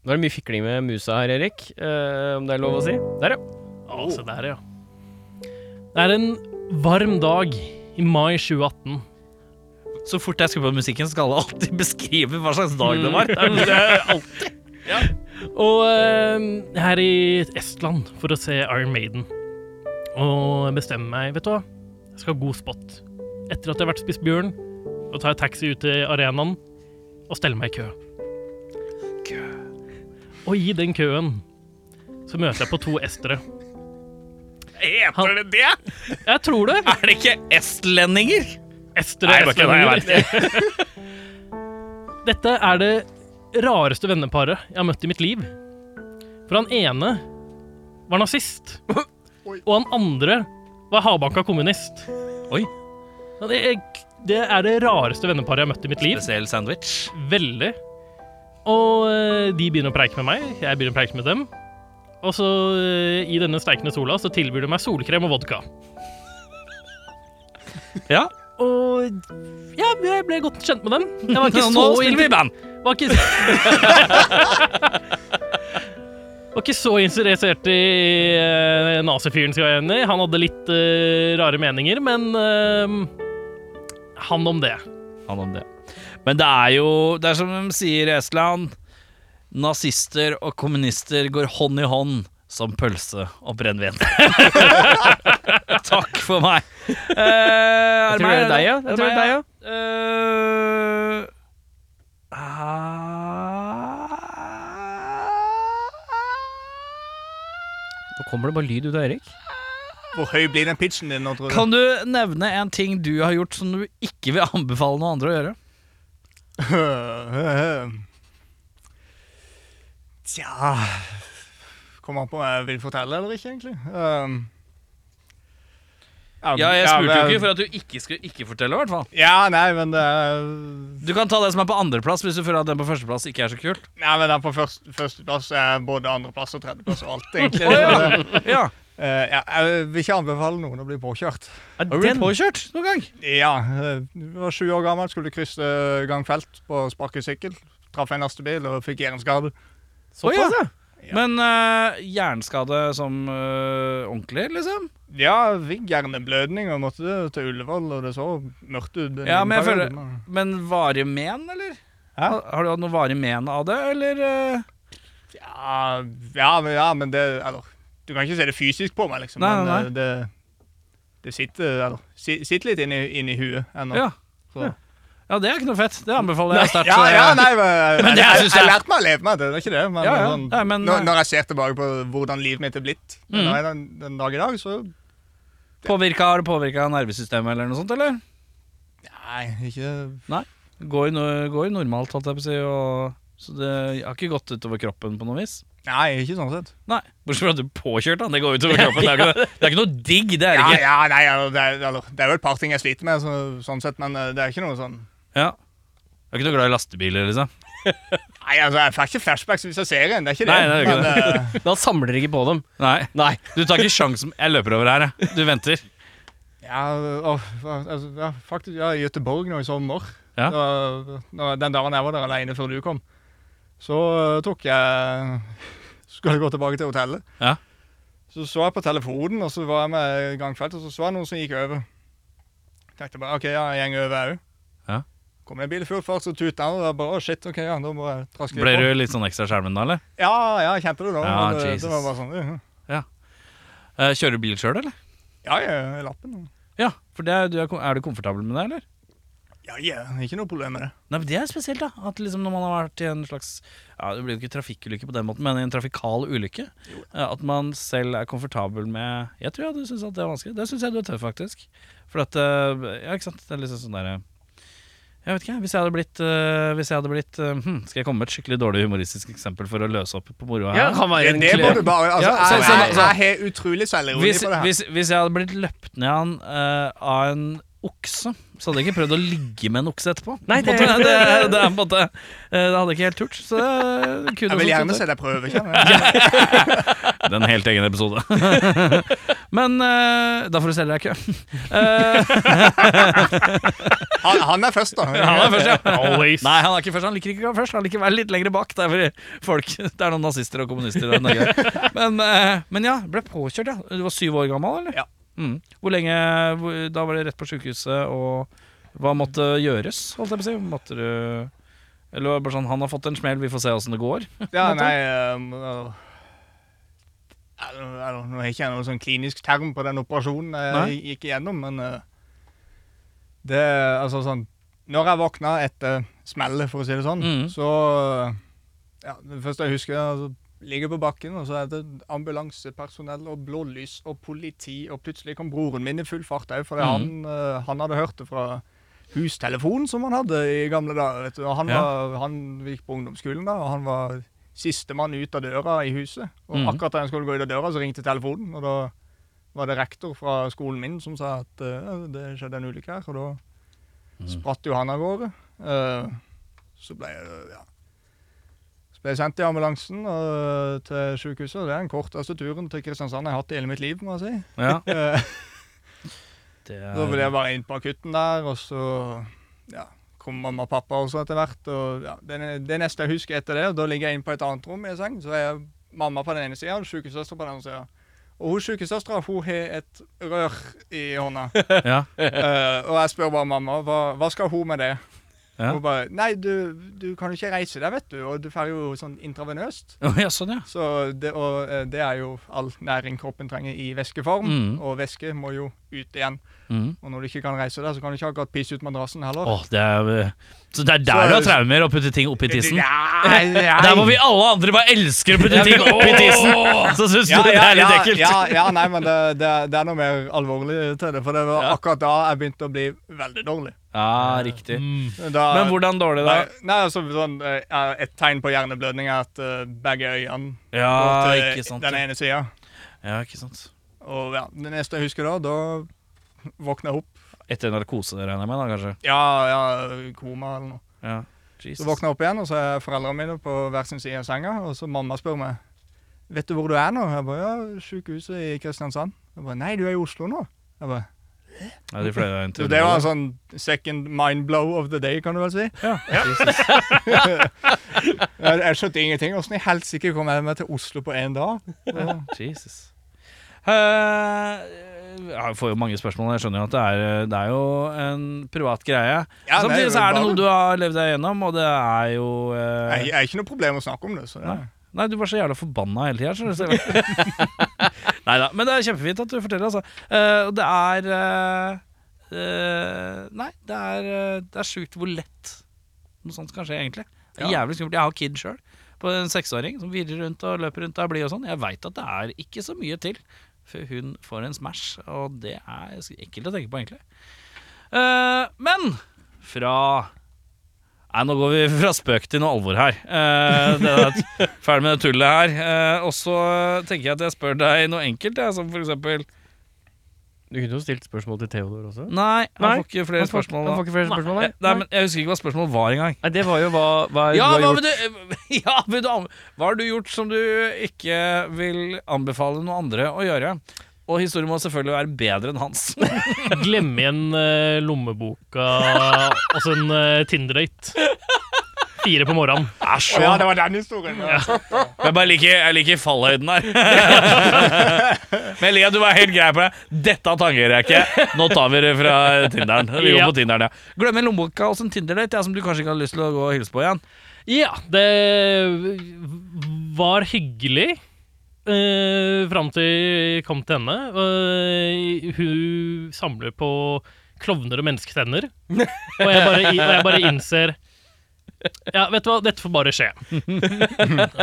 S2: Nå er det mye fikling med musa her, Erik. Eh, om det er lov å si. Der, ja.
S3: Å, se der, Oh. ja. Det er en varm dag i mai 2018.
S1: Så Mm. fort jeg skrur på musikken, skal alle alltid beskrive hva slags dag det var.
S3: Det er alltid. Og eh, her i Estland for å se Iron Maiden. Og jeg bestemmer meg, vet du hva, jeg skal ha god spot. Etter at jeg har vært og spist bjørn, og tar jeg taxi ut til arenaen og steller meg i kø. Og i den køen så møter jeg på to estere.
S1: Heter det det?
S3: Jeg tror det.
S1: Er det ikke estlendinger?
S3: Estere estlendinger. (laughs) Dette er det rareste venneparet jeg har møtt i mitt liv. For han ene var nazist, og han andre var hardbanka kommunist.
S1: Oi.
S3: Ja, Det er, det er det rareste venneparet jeg har møtt i mitt liv.
S1: Spesiell sandwich.
S3: Veldig. Og eh, de begynner å preike med meg, jeg begynner å preike med dem. Og så, eh, i denne steikende sola, så tilbyr de meg solkrem og vodka.
S1: Ja.
S3: Og ja, jeg ble godt kjent med dem. Jeg
S1: (laughs)
S3: var ikke
S1: Nå
S3: så
S1: spiller vi i band.
S3: Var ikke (laughs) Var ikke så interessert i eh, nazifyren, skal jeg enig i. Han hadde litt eh, rare meninger, men eh, han om det.
S1: Han om det. Men det er jo Det er som de sier i Estland. Nazister og kommunister går hånd i hånd som pølse og brennevin. (laughs) Takk for meg. Eh, er
S2: Jeg tror det er deg, ja. Jeg
S1: det
S2: tror det er deg, ja.
S1: meg, ja? Eh,
S2: Nå kommer det bare lyd ut av Erik.
S4: Hvor høy blir den pitchen din nå, tror du?
S1: Kan du nevne en ting du har gjort som du ikke vil anbefale noen andre å gjøre?
S4: (laughs) Tja Kommer an på om jeg vil fortelle eller ikke, egentlig. Ehm, ja, men-
S1: at du ikke skulle ikke fortelle, i hvert fall.
S4: Ja, nei, men det er-
S1: Du kan ta det som er på andreplass hvis du føler at den på førsteplass ikke er så kult.
S4: Nei, men den på først, førsteplass er både andreplass og tredjeplass og (laughs) alt, egentlig. Så det-
S1: (laughs) Ja.
S4: eh, ja, jeg vil ikke anbefale noen å bli påkjørt.
S1: Har du blitt påkjørt noen gang?
S4: Ja, eh, jeg var sju år gammel, skulle krysse gangfelt på sparkesykkel. Traff en lastebil og fikk hjerneskade.
S1: Å,
S2: Såpass, ja.
S1: ja. Men eh, hjerneskade som eh, ordentlig, liksom?
S4: Ja, fikk hjerneblødning og måtte til Ullevål, og det så mørkt ut. en
S1: Ja, men jeg
S4: periode,
S1: føler-
S4: men-
S1: Men varige men, eller?
S4: Hæ?
S1: Har- Har du hatt noe varig men av det, eller? eh?
S4: Ja, ja, men, ja, men det Eller, du kan ikke se det fysisk på meg, liksom.
S1: Nei,
S4: men
S1: nei, nei.
S4: eh, det, det sitter Eller, si- sitter litt inni, inni huet ennå.
S1: Ja.
S4: Så.
S1: ja, det er ikke noe fett. Det anbefaler jeg sterkt.
S4: Ja, ja,
S1: eh,
S4: nei, men,
S1: (laughs) Men det
S4: jeg, jeg,
S1: synes jeg-
S4: jeg lærte meg å leve med det, det er ikke det. Men,
S1: Ja, ja.
S4: Sånn,
S1: Nei, men- eh,
S4: når, når jeg ser tilbake på hvordan livet mitt er blitt
S1: Mm.
S4: nei, den, den dag i dag, så
S1: Påvirka, har det påvirka nervesystemet eller noe sånt, eller?
S4: Nei, ikke
S1: Går, no- går normalt, holdt jeg på å si. Og, så det har ikke gått utover kroppen på noe vis.
S4: Nei, ikke sånn sett.
S1: Nei. Bortsett fra at du påkjørt han. Det går
S4: (laughs)
S1: utover kroppen. Det er ikke, det er ikke noe digg, det er
S4: Ja,
S1: det ikke.
S4: ja, nei, eller, det, er, eller, det er jo et par ting jeg sliter med, så, sånn sett, men eh, det er ikke noe sånn
S1: Ja. Du er ikke noe glad i lastebiler, liksom?
S4: Nei, altså, jeg får ikke flashbacks hvis jeg ser en, det er ikke det.
S1: Nei, det er ikke
S4: men, eh,
S2: Da samler dere ikke på dem.
S1: Nei.
S2: Nei.
S1: Du tar ikke sjansen Jeg løper over her, jeg. Du venter.
S4: Ja, og, altså, ja, faktisk, ja, i Göteborg nå i sommer,
S1: Ja.
S4: da, da, den dagen jeg var der alene før du kom, så eh, tok jeg, (laughs) skulle jeg gå tilbake til hotellet.
S1: Ja.
S4: Så så jeg på telefonen, og så var jeg med gangfeltet, og så så jeg noen som gikk over. Tenkte bare, ok, ja, jeg går over her. jo.
S1: Ja.
S4: Kom det en bil i full fart, så tutet han, og jeg bare, å shit, ok, ja, da må jeg traske
S1: Ble du
S4: litt på.
S1: litt sånn ekstra skjermen da, eller?
S4: Ja, ja, jeg kjente det da,
S1: Ja,
S4: men det,
S1: Jesus.
S4: det var bare sånn, ja,
S1: Eh, Kjører du bil sjøl, eller?
S4: ja, ja, lappen.
S1: Ja. For det er, du er, kom- er du komfortabel med det, eller?
S4: Ja, ja, ikke noe problem med det.
S1: Nei, men Det er spesielt, da. At liksom når man har vært i en slags Ja, Det blir jo ikke trafikkulykke på den måten, men i en trafikal ulykke. eh, At man selv er komfortabel med Jeg tror ja, du syns at det er vanskelig. Det syns jeg du er tøff, faktisk. For at eh, Ja, ikke sant. Det er liksom sånn derre Jeg vet ikke, hvis jeg hadde blitt, eh, hvis jeg hadde blitt eh, hm, Skal jeg komme med et skikkelig dårlig humoristisk eksempel for å løse opp på moroa?
S2: Ja,
S1: her?
S2: han var
S4: Det, det må
S2: egentlig
S4: du bare altså,
S1: Ja, så-
S4: jeg,
S1: så-
S4: jeg,
S1: så-
S4: jeg har utrolig selvironi
S1: hvis,
S4: på det her.
S1: hvis, hvis jeg hadde blitt løpt ned han, eh, av en okse, så hadde jeg ikke prøvd å ligge med en okse etterpå.
S2: Nei,
S1: På en
S2: det-
S1: måte, det, det, er på en måte, eh, det hadde jeg ikke helt turt. Så det kunne
S4: jeg vil gjerne se deg prøve. kjenner jeg.
S1: Det er en helt egen episode. (laughs) Men eh, da får du selge deg i kø. (laughs) Eh,
S4: Han, han er først, da.
S1: han er først, (laughs) ja.
S3: (laughs) Always.
S1: Nei, han er ikke først. Han liker ikke å være først. Han liker å være litt lenger bak. Det er, fordi folk, (laughs) det er noen nazister og kommunister i Norge. Men, eh, men ja, ble påkjørt, ja. Du var syv år gammel, eller?
S4: Ja.
S1: Mm. Hvor lenge hvor- Da var det rett på sjukehuset, og hva måtte gjøres, holdt jeg på å si? Måtte du Eller var det bare sånn, han har fått en smell, vi får se åssen det går.
S4: Ja, nei um, uh, I don't- I don't know, Jeg har ikke noen sånn klinisk term på den operasjonen jeg
S1: Nei.
S4: gikk igjennom, men uh, det Altså sånn Når jeg våkna etter smellet, for å si det sånn,
S1: Mhm.
S4: så uh, ja, Det første jeg husker, altså, ligger på bakken, og så er det ambulansepersonell og blålys og politi, og plutselig kom broren min i full fart òg,
S1: Mhm.
S4: fordi han, eh, han hadde hørt det fra hustelefonen som han hadde i gamle dager. vet du. Og han,
S1: Ja.
S4: var, han gikk på ungdomsskolen da, og han var sistemann ut av døra i huset. Og
S1: Mhm.
S4: akkurat da han skulle gå ut av døra, så ringte telefonen, og da var det rektor fra skolen min som sa at eh, det skjedde en ulykke her, og da
S1: Mhm.
S4: spratt jo han av gårde. Eh, så ble jeg ja. Så ble jeg sendt i ambulansen og til sykehuset. og Det er den korteste turen til Kristiansand jeg har hatt i hele mitt liv. må jeg si.
S1: (laughs) Ja,
S4: Eh,
S1: det
S4: Da ble
S1: er,
S4: jeg bare inn på akutten der, og så ja, kom mamma og pappa også etter hvert. og ja, Det, ne- det neste jeg husker etter det, og da ligger jeg inne på et annet rom i en seng, så er jeg mamma på den ene sida og sykesøster på den andre sida. Og hun sykesøstera hun har et rør i hånda.
S1: (laughs) ja.
S4: Eh, og jeg spør bare mamma, hva, hva skal hun med det?
S1: Ja.
S4: Hun bare, nei, du, du kan jo ikke reise deg, vet du, og du får jo sånn intravenøst.
S1: Å, ja, sånn, ja.
S4: Så det, og, eh, det er jo all næring kroppen trenger i væskeform,
S1: Mhm.
S4: og væske må jo ut igjen.
S1: Mhm.
S4: Og når du ikke kan reise deg, så kan du ikke akkurat pisse ut madrassen heller.
S1: Åh, det er, eh, så det er der du har traumer, å putte ting oppi tissen? (laughs)
S4: Nei, nei.
S1: Der hvor vi alle andre bare elsker å putte ting oppi tissen, så syns du
S4: Ja,
S1: det
S4: ja,
S1: er litt
S4: ja,
S1: ekkelt?
S4: Ja, ja, nei, men det, det, er- det er noe mer alvorlig til det, for det var akkurat da jeg begynte å bli veldig dårlig.
S1: Ja, riktig.
S3: Mm.
S4: Da,
S1: Men hvordan dårlig, da?
S4: Nei, nei, altså sånn, eh, ja, Et tegn på hjerneblødning er at eh, begge øynene
S1: Ja,
S4: går til
S1: Ah, ikke sant.
S4: den
S1: ja.
S4: ene sida.
S1: Ja, ikke sant.
S4: Og ja, det neste jeg husker da, da våkna jeg opp.
S1: Etter narkose, regner jeg med, da, kanskje?
S4: Ja, ja, koma eller noe.
S1: Ja.
S4: Så
S1: Jesus.
S4: våkner jeg opp igjen, og så er foreldrene mine på hver sin side av senga. Og så mamma spør meg Vet du hvor du er nå. Jeg bare, ja, Sykehuset i Kristiansand. Jeg bare, Nei, du er i Oslo nå. Jeg bare,
S1: Ja, de fløy deg inn
S4: så
S1: til
S4: det var en sånn second mind blow of the day, kan du vel si.
S1: Jesus.
S4: (laughs) Jeg, jeg skjønte ingenting. Åssen i helsike kom jeg meg til Oslo på én dag? Og-
S1: Jesus. Eh, jeg får jo mange spørsmål. Jeg skjønner jo at det er, eh, det er jo en privat greie.
S4: Ja, det er
S1: Samtidig
S4: jo
S1: så er det
S4: bare-
S1: noe du har levd deg gjennom, og det er jo eh,
S4: Jeg, jeg har ikke noe problem med å snakke om det. så det
S1: Nei. Nei, du var så jævla forbanna hele tida. (laughs) Nei da. Men det er kjempefint at du forteller, altså. Eh, og det er eh, eh, Nei, det er, eh, det er sjukt hvor lett noe sånt kan skje, egentlig. Det er jævlig skummelt. Jeg har kid sjøl, på en seksåring som virrer rundt og løper rundt og er blid og sånn. Jeg veit at det er ikke så mye til før hun får en smash, og det er ekkelt å tenke på, egentlig. Eh, men fra Nei, nå går vi fra spøk til noe alvor her. Eh, det er et, ferdig med det tullet her. Eh, og så tenker jeg at jeg spør deg noe enkelt, jeg, som for eksempel
S2: Du kunne jo stilt spørsmål til Theodor også.
S1: Nei, han
S2: Nei,
S1: får ikke flere
S2: han får-
S1: spørsmål.
S2: han får ikke flere
S1: Nei,
S2: spørsmål, nei.
S1: jeg- Nei, men jeg husker ikke hva spørsmålet var engang.
S2: Nei, det var jo hva, hva
S1: Ja,
S2: du
S1: hva
S2: har
S1: vil
S2: gjort.
S1: du, ja, vil du (laughs) an- hva har du gjort som du ikke vil anbefale noen andre å gjøre? Og historien må selvfølgelig være bedre enn hans. (laughs)
S3: Glemme igjen eh, lommeboka og så en eh, Tinder-date. Fire på morgenen.
S4: Å ja, det var den historien. Ja.
S1: Men jeg bare liker, jeg liker fallhøyden her. (laughs) Men jeg liker at du var helt grei på det. Dette tangerer jeg ikke. Nå tar vi det fra Tinderen. Vi går
S3: Ja.
S1: på Tinderen, ja. Glem en lommeboka og en Tinder-date ja, som du kanskje ikke har lyst til å gå og hilse på igjen.
S3: Ja, det var hyggelig. Uh, Fram til jeg kom til henne. Eh, hun samler på klovner og mennesketenner. Og jeg bare, og jeg bare innser Ja, vet du hva, dette får bare skje.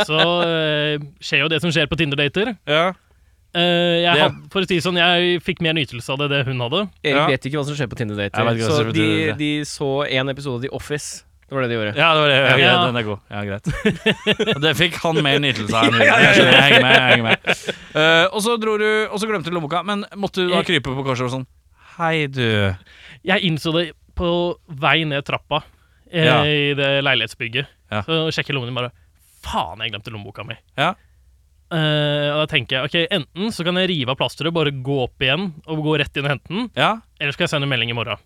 S3: Så eh, skjer jo det som skjer på Tinder-dater.
S1: Ja.
S3: Eh, jeg,
S1: Ja.
S3: had- for å si det sånn, jeg fikk mer nytelse av det det hun hadde.
S2: Erik
S1: Ja.
S2: vet ikke hva som skjer på
S1: Jeg
S2: Tinder-dater.
S1: vet ikke hva som
S2: Så
S1: skjer på
S2: de,
S1: Tinder-dater.
S2: de så en episode av The Office. Det var det de gjorde.
S1: Ja, det var det. Ja,
S3: Ja.
S1: Den er god. Ja, greit. Og det fikk han mer nytelse av. enn (laughs) vi. Jeg skjønner, jeg henger med. Jeg henger med. Eh, og så dro du, og så glemte du lommeboka. Men måtte du da krype på korset og sånn Hei, du.
S3: Jeg innså det på vei ned trappa eh,
S1: Ja.
S3: i det leilighetsbygget.
S1: Ja.
S3: Så sjekker lommene bare Faen, jeg glemte lommeboka mi.
S1: Ja.
S3: Eh, og da tenker jeg ok, enten så kan jeg rive av plasteret, bare gå opp igjen og gå rett inn og hente den,
S1: Ja.
S3: eller skal jeg sende en melding i morgen.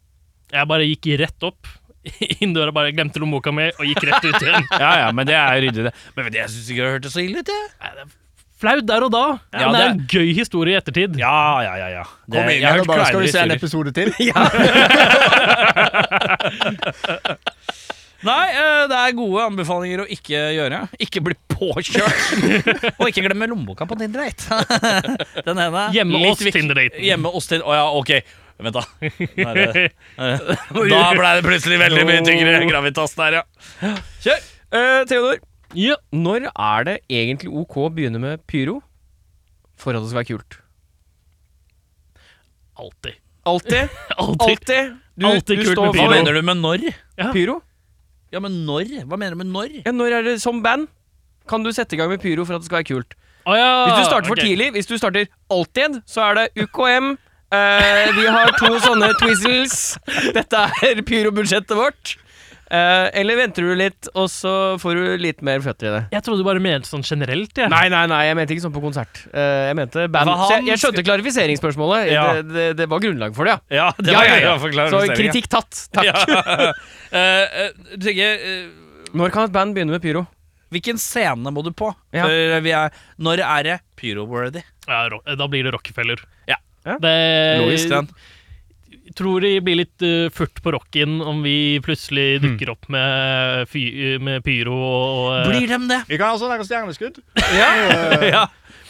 S3: Jeg bare gikk rett opp (laughs) inn døra, bare glemte lommeboka mi og gikk rett ut igjen.
S1: ja, ja, men det er ryddig, det. Men vet du, jeg syns ikke det hørtes så ille ut, jeg.
S3: Nei, det er Flaut der og da,
S1: Ja,
S3: men det er en
S1: det
S3: gøy historie i ettertid.
S1: Ja, ja, ja. ja. Det,
S4: Kom inn,
S1: jeg har
S4: her
S1: hørt
S4: og bare, skal
S1: kleinere
S4: (laughs) vi se en
S1: historier.
S4: episode til?
S1: Ja. Nei, eh, det er gode anbefalinger å ikke gjøre. Ikke bli påkjørt. (laughs) og ikke glemme lommeboka på Tinder-date. (laughs) Den ene
S3: Hjemme
S1: litt
S3: oss,
S1: viktig-
S3: Tinder-daten.
S1: Hjemme oss til Å ja, ok. (laughs) Vent, da. Nå er det- Oh. Da ble det plutselig veldig mye tyngre gravitas der, ja. Kjør!
S2: Eh, Theodor,
S3: Ja.
S2: når er det egentlig OK å begynne med pyro for at det skal være kult?
S3: Alltid.
S2: (laughs) Alltid.
S3: Alltid.
S2: Alltid. Du,
S3: Alltid kult
S1: Hva
S3: med pyro.
S1: mener du med når?
S3: Ja.
S2: Pyro?
S1: Ja, men når? Hva mener du med når?
S2: Ja, når er det som band? Kan du sette i gang med pyro for at det skal være kult?
S3: Å ja,
S2: Hvis
S1: Ah,
S2: du starter for
S3: ok.
S2: tidlig, hvis du starter alltid, så er det UKM. eh, vi har to sånne twizzles. Dette er pyrobudsjettet vårt. Eh, eller venter du litt, og så får du litt mer føtter i det.
S3: Jeg trodde du bare mente sånn generelt, jeg.
S2: Nei, nei, nei, jeg mente ikke sånn på konsert. Eh, jeg mente band.
S1: Hva
S2: Så jeg, jeg
S1: han
S2: skjønte klarifiseringsspørsmålet.
S1: Ja.
S2: Det, det, det var grunnlag for det, ja.
S1: Ja, det
S2: Ja,
S1: var,
S2: ja, ja.
S1: for klar
S2: Så
S1: justering, ja.
S2: kritikk tatt. Takk.
S1: (laughs) Ja. Eh, eh, du tenker eh,
S2: Når kan et band begynne med pyro?
S1: Hvilken scene må du på?
S2: Ja.
S1: For vi er, når er det pyro-worthy?
S3: Ja, ro- eh, da blir det Rockefeller.
S1: Ja.
S2: Ja.
S3: Det,
S1: Logisk, den.
S3: tror de blir litt eh, furt på rocken om vi
S1: Hmm.
S3: plutselig dukker opp med, fy, eh, med pyro og, og eh,
S1: Blir de det?
S4: Vi kan ha sånn der stjerneskudd.
S1: Ja. Eh,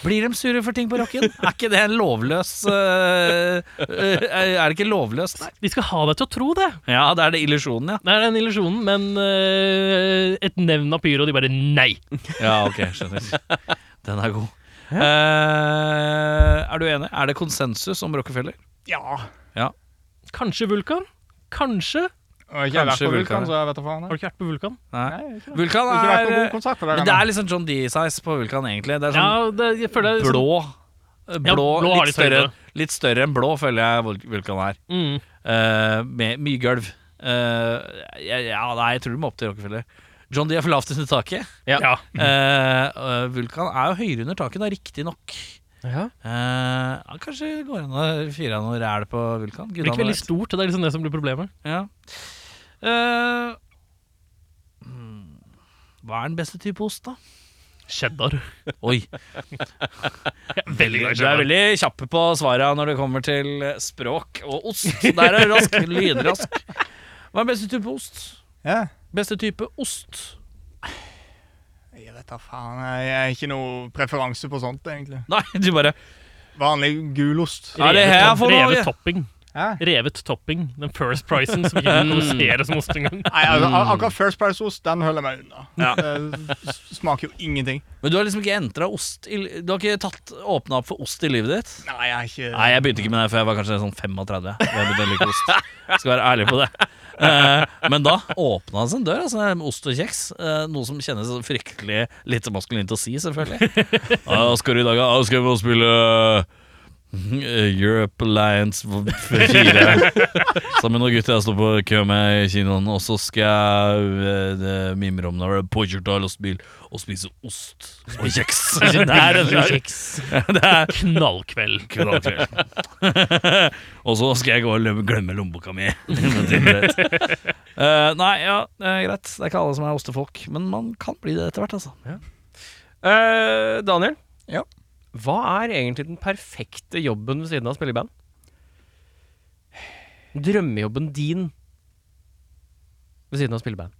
S1: Blir de sure for ting på rocken? Er ikke det en lovløs eh, eh, Er det ikke lovløst?
S3: De skal ha deg til å tro det.
S1: Ja, det er det illusjonen, ja.
S3: Det er den illusjonen, men eh, et nevn av pyro, de bare nei.
S1: Ja, ok, skjønner Den er god. Eh, er du enig? Er det konsensus om Rockefeller?
S4: Ja.
S3: Kanskje Vulkan? Kanskje?
S4: Og ikke jeg har vært
S1: Kanskje
S4: på
S1: vulkan,
S4: Vulkan, så jeg vet da faen.
S3: Har du
S4: jeg.
S3: ikke vært på Vulkan?
S1: Nei.
S4: Nei, jeg har ikke det.
S1: Vulkan
S4: Ikke vært på
S1: er eh,
S4: god konsert for deg
S1: Men det er
S4: ennå.
S1: liksom John D-size på Vulkan, egentlig. Det er sånn
S3: Ja, det, jeg føler det er sånn-
S1: blå.
S3: Ja,
S1: Blå,
S3: blå har
S1: litt,
S3: litt
S1: større,
S3: høyde.
S1: litt større enn blå, føler jeg Vul- Vulkan er.
S3: Mm.
S1: Eh, med mye gulv. Eh, ja, ja, nei, jeg tror du må opp til Rockefeller. John D er for lavt under taket.
S2: Ja.
S3: Ja.
S1: Eh, og Vulkan er jo høyere under taket, da, riktignok.
S2: Ja.
S1: Uh, kanskje det går an å fyre av noe ræl på Vulkan.
S3: Det
S1: Gud,
S3: blir
S1: han
S3: ikke veldig
S1: vet.
S3: stort, det er liksom det som blir problemet.
S1: Ja. Eh, hmm, hva er den beste type ost, da?
S3: Cheddar.
S1: (laughs) Oi.
S3: Veldig glad
S1: Du
S3: i
S1: er
S3: cheddar.
S1: veldig kjapp på svara når det kommer til språk og ost. Der er du rask. Lynrask. (laughs) Hva er beste type ost?
S4: Ja.
S1: Beste type ost?
S4: Jeg vet da faen. Jeg har ikke noe preferanse på sånt, egentlig.
S1: Nei, du bare
S4: Vanlig gulost.
S1: Ja, det her
S3: revet,
S1: får
S3: top,
S1: man-
S3: revet topping.
S4: Hæ?
S3: Revet topping. Den first pricen som ikke produseres som ost engang.
S4: Nei, altså, ak- akkurat First Price-ost, den holder jeg meg unna.
S1: Mm. Ja.
S4: Det s- smaker jo ingenting.
S1: Men du har liksom ikke entra ost i, Du har ikke tatt, åpna opp for ost i livet ditt?
S4: Nei, jeg er ikke
S1: Nei, jeg begynte ikke med det før jeg var kanskje sånn 35. Jeg begynte å like ost. Skal være ærlig på det. Eh, men da åpna det seg en dør altså, med ost og kjeks. Eh, noe som kjennes så fryktelig lite maskulint å si, selvfølgelig. Ja, hva skal du i dag, da? Ja, skal vi spille eh, Europe Alliance 4 sammen med noen gutter jeg står på kø med i kinoen. Og så skal jeg eh, det- mimre om når det er påkjørt av lastebil og spise ost og kjeks. Det er en (laughs) det er
S3: Knallkveld.
S1: (laughs) og så skal jeg gå og lø- glemme lommeboka mi. (laughs) Eh, nei, ja, eh, greit. Det er ikke alle som er ostefolk, men man kan bli det etter hvert, altså.
S2: Eh, Daniel,
S4: Ja.
S2: hva er egentlig den perfekte jobben ved siden av å spille i band? Drømmejobben din ved siden av å spille i band.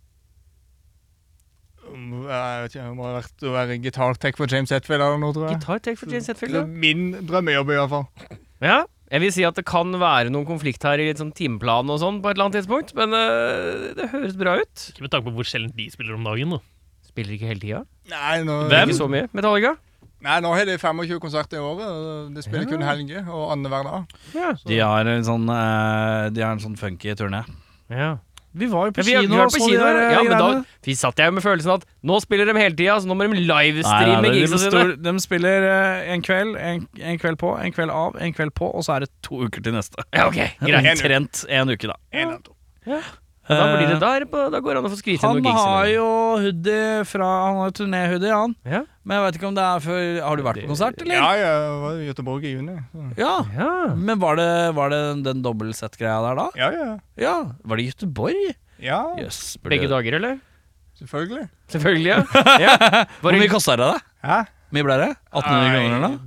S4: Um, Jeg vet ikke, det må ha vært å være gitartech for James Hetfield eller noe, tror jeg.
S2: Gitartech for James Hetfield,
S4: Det er Min drømmejobb, i hvert fall.
S2: Ja. Jeg vil si at det kan være noen konflikt her i litt sånn timeplan og sånn på et eller annet tidspunkt, men eh, det høres bra ut.
S3: Ikke med tanke på hvor sjelden de spiller om dagen, da.
S2: Spiller ikke hele tida.
S4: Nei, nå,
S1: Hvem?
S2: Ikke så mye. Metallica.
S4: Nei, nå har de 25 konserter i året. og De spiller kun helger og annenhver dag.
S2: Ja.
S1: De har en sånn, eh, de har en sånn funky turné.
S2: ja.
S1: Vi var jo
S2: Ja, vi, vi var på kino, ja, ja, men da vi satt jeg jo med følelsen at nå spiller de hele tida, så nå må de
S1: Nei,
S2: livestreame
S1: nei, de,
S2: gigsa sine.
S1: stor, de spiller eh, en kveld, en, en kveld på, en kveld av, en kveld på, og så er det to uker til neste.
S2: Ja, ok, greit.
S1: Omtrent en uke, da.
S4: En eller to.
S2: Da, blir det, da, er det på, da går det an å få skvist inn noen
S1: Han
S2: gigs.
S1: har
S2: innimellom.
S1: jo hoodie fra Han har jo turnéhoodie, han.
S2: Ja.
S1: Men jeg vet ikke om det er før Har du vært på konsert, eller?
S4: Ja, jeg var i Göteborg i juni. så-
S1: Ja.
S2: Ja.
S1: Men var det, var det den dobbeltsett-greia der da?
S4: Ja, ja.
S1: Ja. Var det i Gøteborg?
S4: Ja,
S1: Jøss. burde-
S2: Begge dager, eller?
S4: selvfølgelig.
S2: Selvfølgelig, ja. ja.
S1: Hvor mye kosta det? da?
S4: Hæ?
S1: Hvor Mye ble det? 1800
S4: Nei.
S1: kroner eller noe?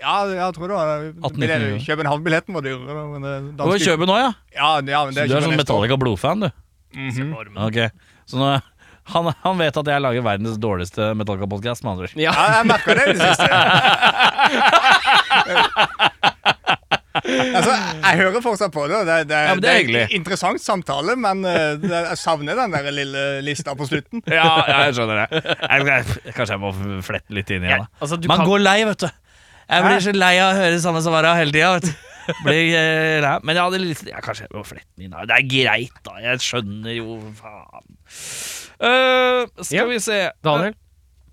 S4: Ja, jeg tror det var
S1: 18-19 euro.
S4: København-billetten var dyrere. Men det,
S1: Du var i Kjøben òg, ja.
S4: ja, ja,
S1: Så
S4: men det
S1: du er sånn
S4: ikke neste år.
S1: Metallica blodfan, du.
S3: Ser på armen.
S1: Ok, så nå, han, han vet at jeg lager verdens dårligste Metallica-podcast med andre ord.
S2: Ja.
S4: Ja, jeg merka det i det
S1: (laughs)
S4: siste. altså, jeg hører fortsatt på det. og Det, det,
S1: Ja, men det er hyggelig.
S4: interessant samtale, men eh, det, jeg savner den der lille lista på slutten.
S1: Ja, jeg skjønner det. Jeg, jeg, kanskje jeg må flette litt inn igjen. da.
S2: (laughs) altså, du
S1: Man
S2: kan-
S1: går lei, vet du. Jeg blir så lei av å høre samme svara hele tida. vet du. Blir, eh, lei. Men jeg hadde litt, ja, kanskje jeg må flette den inn. da. Det er greit, da. Jeg skjønner jo, faen. Eh, skal
S2: Ja.
S1: vi se
S2: Daniel.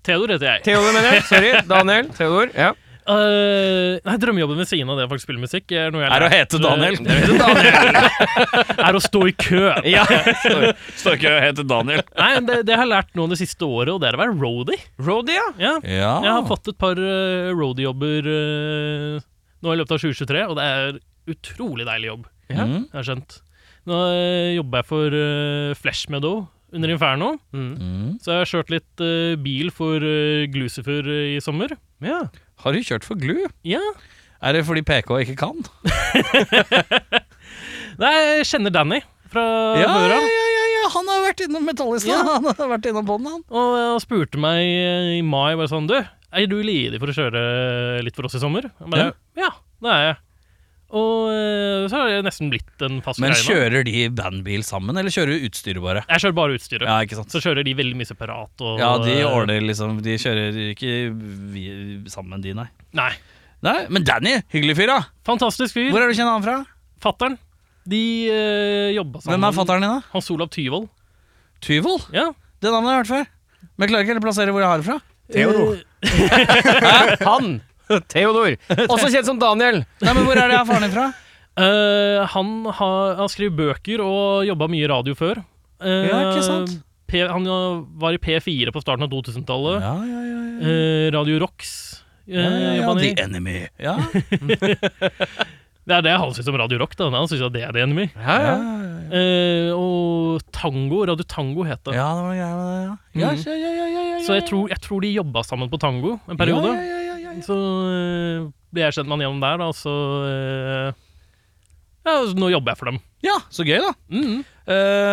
S3: Theodor heter jeg.
S2: Theodor, mener jeg. Sorry. Daniel. Theodor. Ja.
S3: Eh, nei, drømmejobben ved siden av det å faktisk spille musikk er noe jeg
S1: Er å
S3: lærte-
S1: hete Daniel.
S2: (laughs)
S3: er å stå i kø.
S1: (laughs)
S2: ja.
S1: Står ikke og heter Daniel.
S3: Nei, det, det har jeg lært nå det siste året, og det er å være roadie.
S2: Roadie, ja.
S3: Ja.
S1: (laughs) Ja.
S3: Jeg har fått et par uh, roadie-jobber eh, nå i løpet av 2023, og det er utrolig deilig jobb.
S1: Mm.
S3: Jeg har skjønt. Nå eh, jobber jeg for eh, Flash Meadow under Inferno,
S1: Mm.
S3: så jeg har kjørt litt eh, bil for eh, Glucifer eh, i sommer.
S2: ja.
S1: Har du kjørt for glu?
S3: Ja.
S1: Er det fordi PK ikke kan?
S3: Nei, jeg kjenner Danny fra
S1: Ja,
S3: før
S1: ja,
S3: av.
S1: ja, ja, ja. Han har vært innom Metallista.
S3: Ja.
S1: Han har vært innom bånn, han.
S3: Og han spurte meg i mai bare sånn Du, er du ledig for å kjøre litt for oss i sommer? Jeg bare, ja. det er jeg. Og eh, så har jeg nesten blitt en fast
S1: Men
S3: greie nå.
S1: kjører de bandbil sammen, eller kjører du utstyret bare?
S3: Jeg kjører bare utstyret.
S1: Ja, ikke sant?
S3: Så kjører de veldig mye separat. Og,
S1: Ja, de ordner liksom De kjører ikke vi, sammen, de, nei.
S3: eh, Nei.
S1: Nei, Men Danny, hyggelig fyr, da!
S3: Fantastisk
S1: Hvor
S3: fyr.
S1: er du kjenner han fra?
S3: Fattern. De uh, jobba sammen.
S1: Hvem er fatter'n din, da?
S3: Hans Olav Tyvold.
S1: Tyvold?
S3: Ja.
S1: Det navnet har jeg hørt før. Men jeg klarer ikke helt å plassere hvor jeg har det fra.
S4: Theodor.
S3: Eh,
S2: Han. (laughs) Theodor. Også kjent som Daniel.
S1: Nei, men Hvor er det jeg har faren din fra?
S3: eh, han har han skriver bøker og jobba mye radio før. Eh,
S1: Ja, ikke sant?
S3: P, han var i P4 på starten av 2000-tallet.
S1: Ja, ja, ja, ja.
S3: Eh, Radio Rocks. eh,
S1: Ja, ja, ja,
S3: jobba han i.
S1: the Enemy. Ja,
S3: Det er det han syns om Radio Rock. da Han syns at det er The Enemy.
S1: ja, ja,
S3: Eh, og tango. Radio Tango het det.
S1: ja det var noe greier med det, ja. Ja, ja, ja, ja, ja, ja,
S3: Så jeg tror, jeg tror de jobba sammen på tango en periode.
S1: Ja, ja, ja, ja, ja.
S3: Så eh, ble jeg kjent med han gjennom der, da, og så eh, Ja, så nå jobber jeg for dem.
S1: ja, så gøy, da.
S3: Mhm.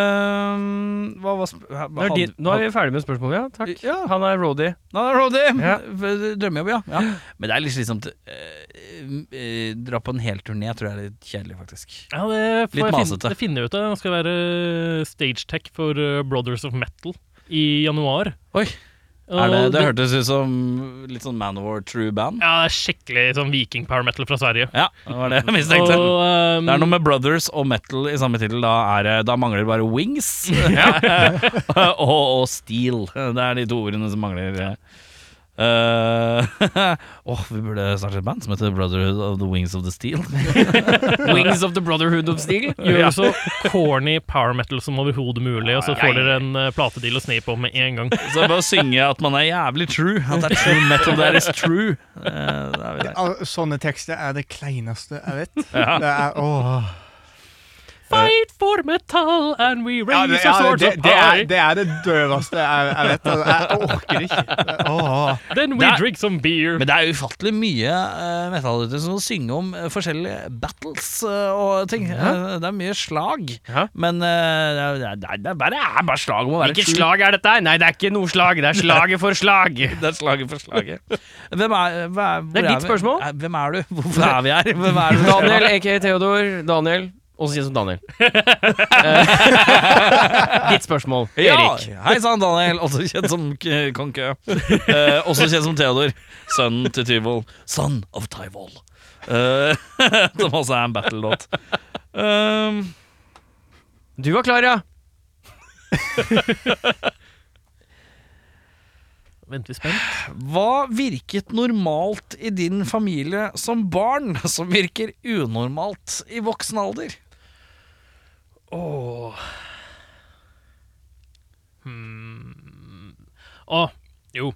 S1: Ehm, hva var sp- ha-
S2: Nå er,
S1: hadde-
S2: din, nå er vi ferdig med spørsmålet, ja. Takk.
S1: Ja.
S2: Han er roadie.
S1: Nå er det roadie. (laughs)
S2: Ja.
S1: F- Drømmejobb, ja. ja. Men det er litt slitsomt. Eh, eh, dra på en hel turné tror jeg er litt kjedelig, faktisk.
S3: Ja, det
S1: Litt
S3: får jeg finne,
S1: masete.
S3: det finner jeg ut av. Han skal være stagetech for eh, Brothers of Metal i januar.
S1: Oi,
S3: Og
S1: er det, det hørtes ut som litt sånn Manowar True Band.
S3: Ja, skikkelig sånn viking power metal fra Sverige.
S1: Ja, det var det jeg mistenkte.
S3: Og, eh,
S1: Det er noe med Brothers og Metal i samme tittel. Da, er, det- da mangler det bare Wings (laughs) og, og Steel. Det er de to ordene som mangler. eh. Eh, (laughs) Åh, vi burde starte et band som heter Brotherhood of the Wings of the Steel.
S2: (laughs) Wings of the Brotherhood of Steel.
S3: Gjør det så corny power metal som overhodet mulig, og så får dere en eh, platedeal å sne på med en
S1: (laughs)
S3: gang.
S1: Så det er bare å synge at man er jævlig true. At det er true metal that is true. Eh, da er vi der.
S4: Al- Sånne tekster er det kleineste jeg
S1: (laughs)
S4: vet. Det er, åh.
S3: Fight for metal and we raise
S4: Ja, det, ja,
S3: our swords
S4: det,
S3: up
S4: det,
S3: high.
S4: er, det er det døveste jeg, jeg vet. Altså, Jeg orker det ikke. Det, åh.
S3: Then we
S1: Det er-
S3: drink some beer.
S1: Men det er ufattelig mye uh, metal ute som synger om eh, forskjellige battles eh, og ting. Eh, det er mye slag.
S2: Ja.
S1: Men eh, det, er, det, er, det, er bare, det er bare slag om å være
S2: Hvilket
S1: true.
S2: slag er dette? her? Nei, det er ikke noe slag. Det er slaget for slag.
S1: (laughs) Det er slaget for
S2: (laughs)
S1: slaget. Hvem er, hva er, hvor
S2: Det er ditt
S1: vi?
S2: spørsmål.
S1: Eh, Hvem er du? (laughs) Hvorfor er vi her? Hvem er du?
S2: Daniel, aka Theodor. Daniel. Også kjent som (laughs) Daniel. Eh, Ditt (laughs) spørsmål, Erik.
S1: Ja, Hei sann, Daniel. Også kjent som K- Kong Kø. Eh, også kjent som Theodor. Sønnen til Tyvold. Son of Tyvold. Eh, (laughs) som også er en battle-låt. Um,
S2: Du var klar, ja.
S3: Vent, vi er spent.
S1: hva virket normalt i din familie som barn, som virker unormalt i voksen alder?
S3: Hmm. Å, jo.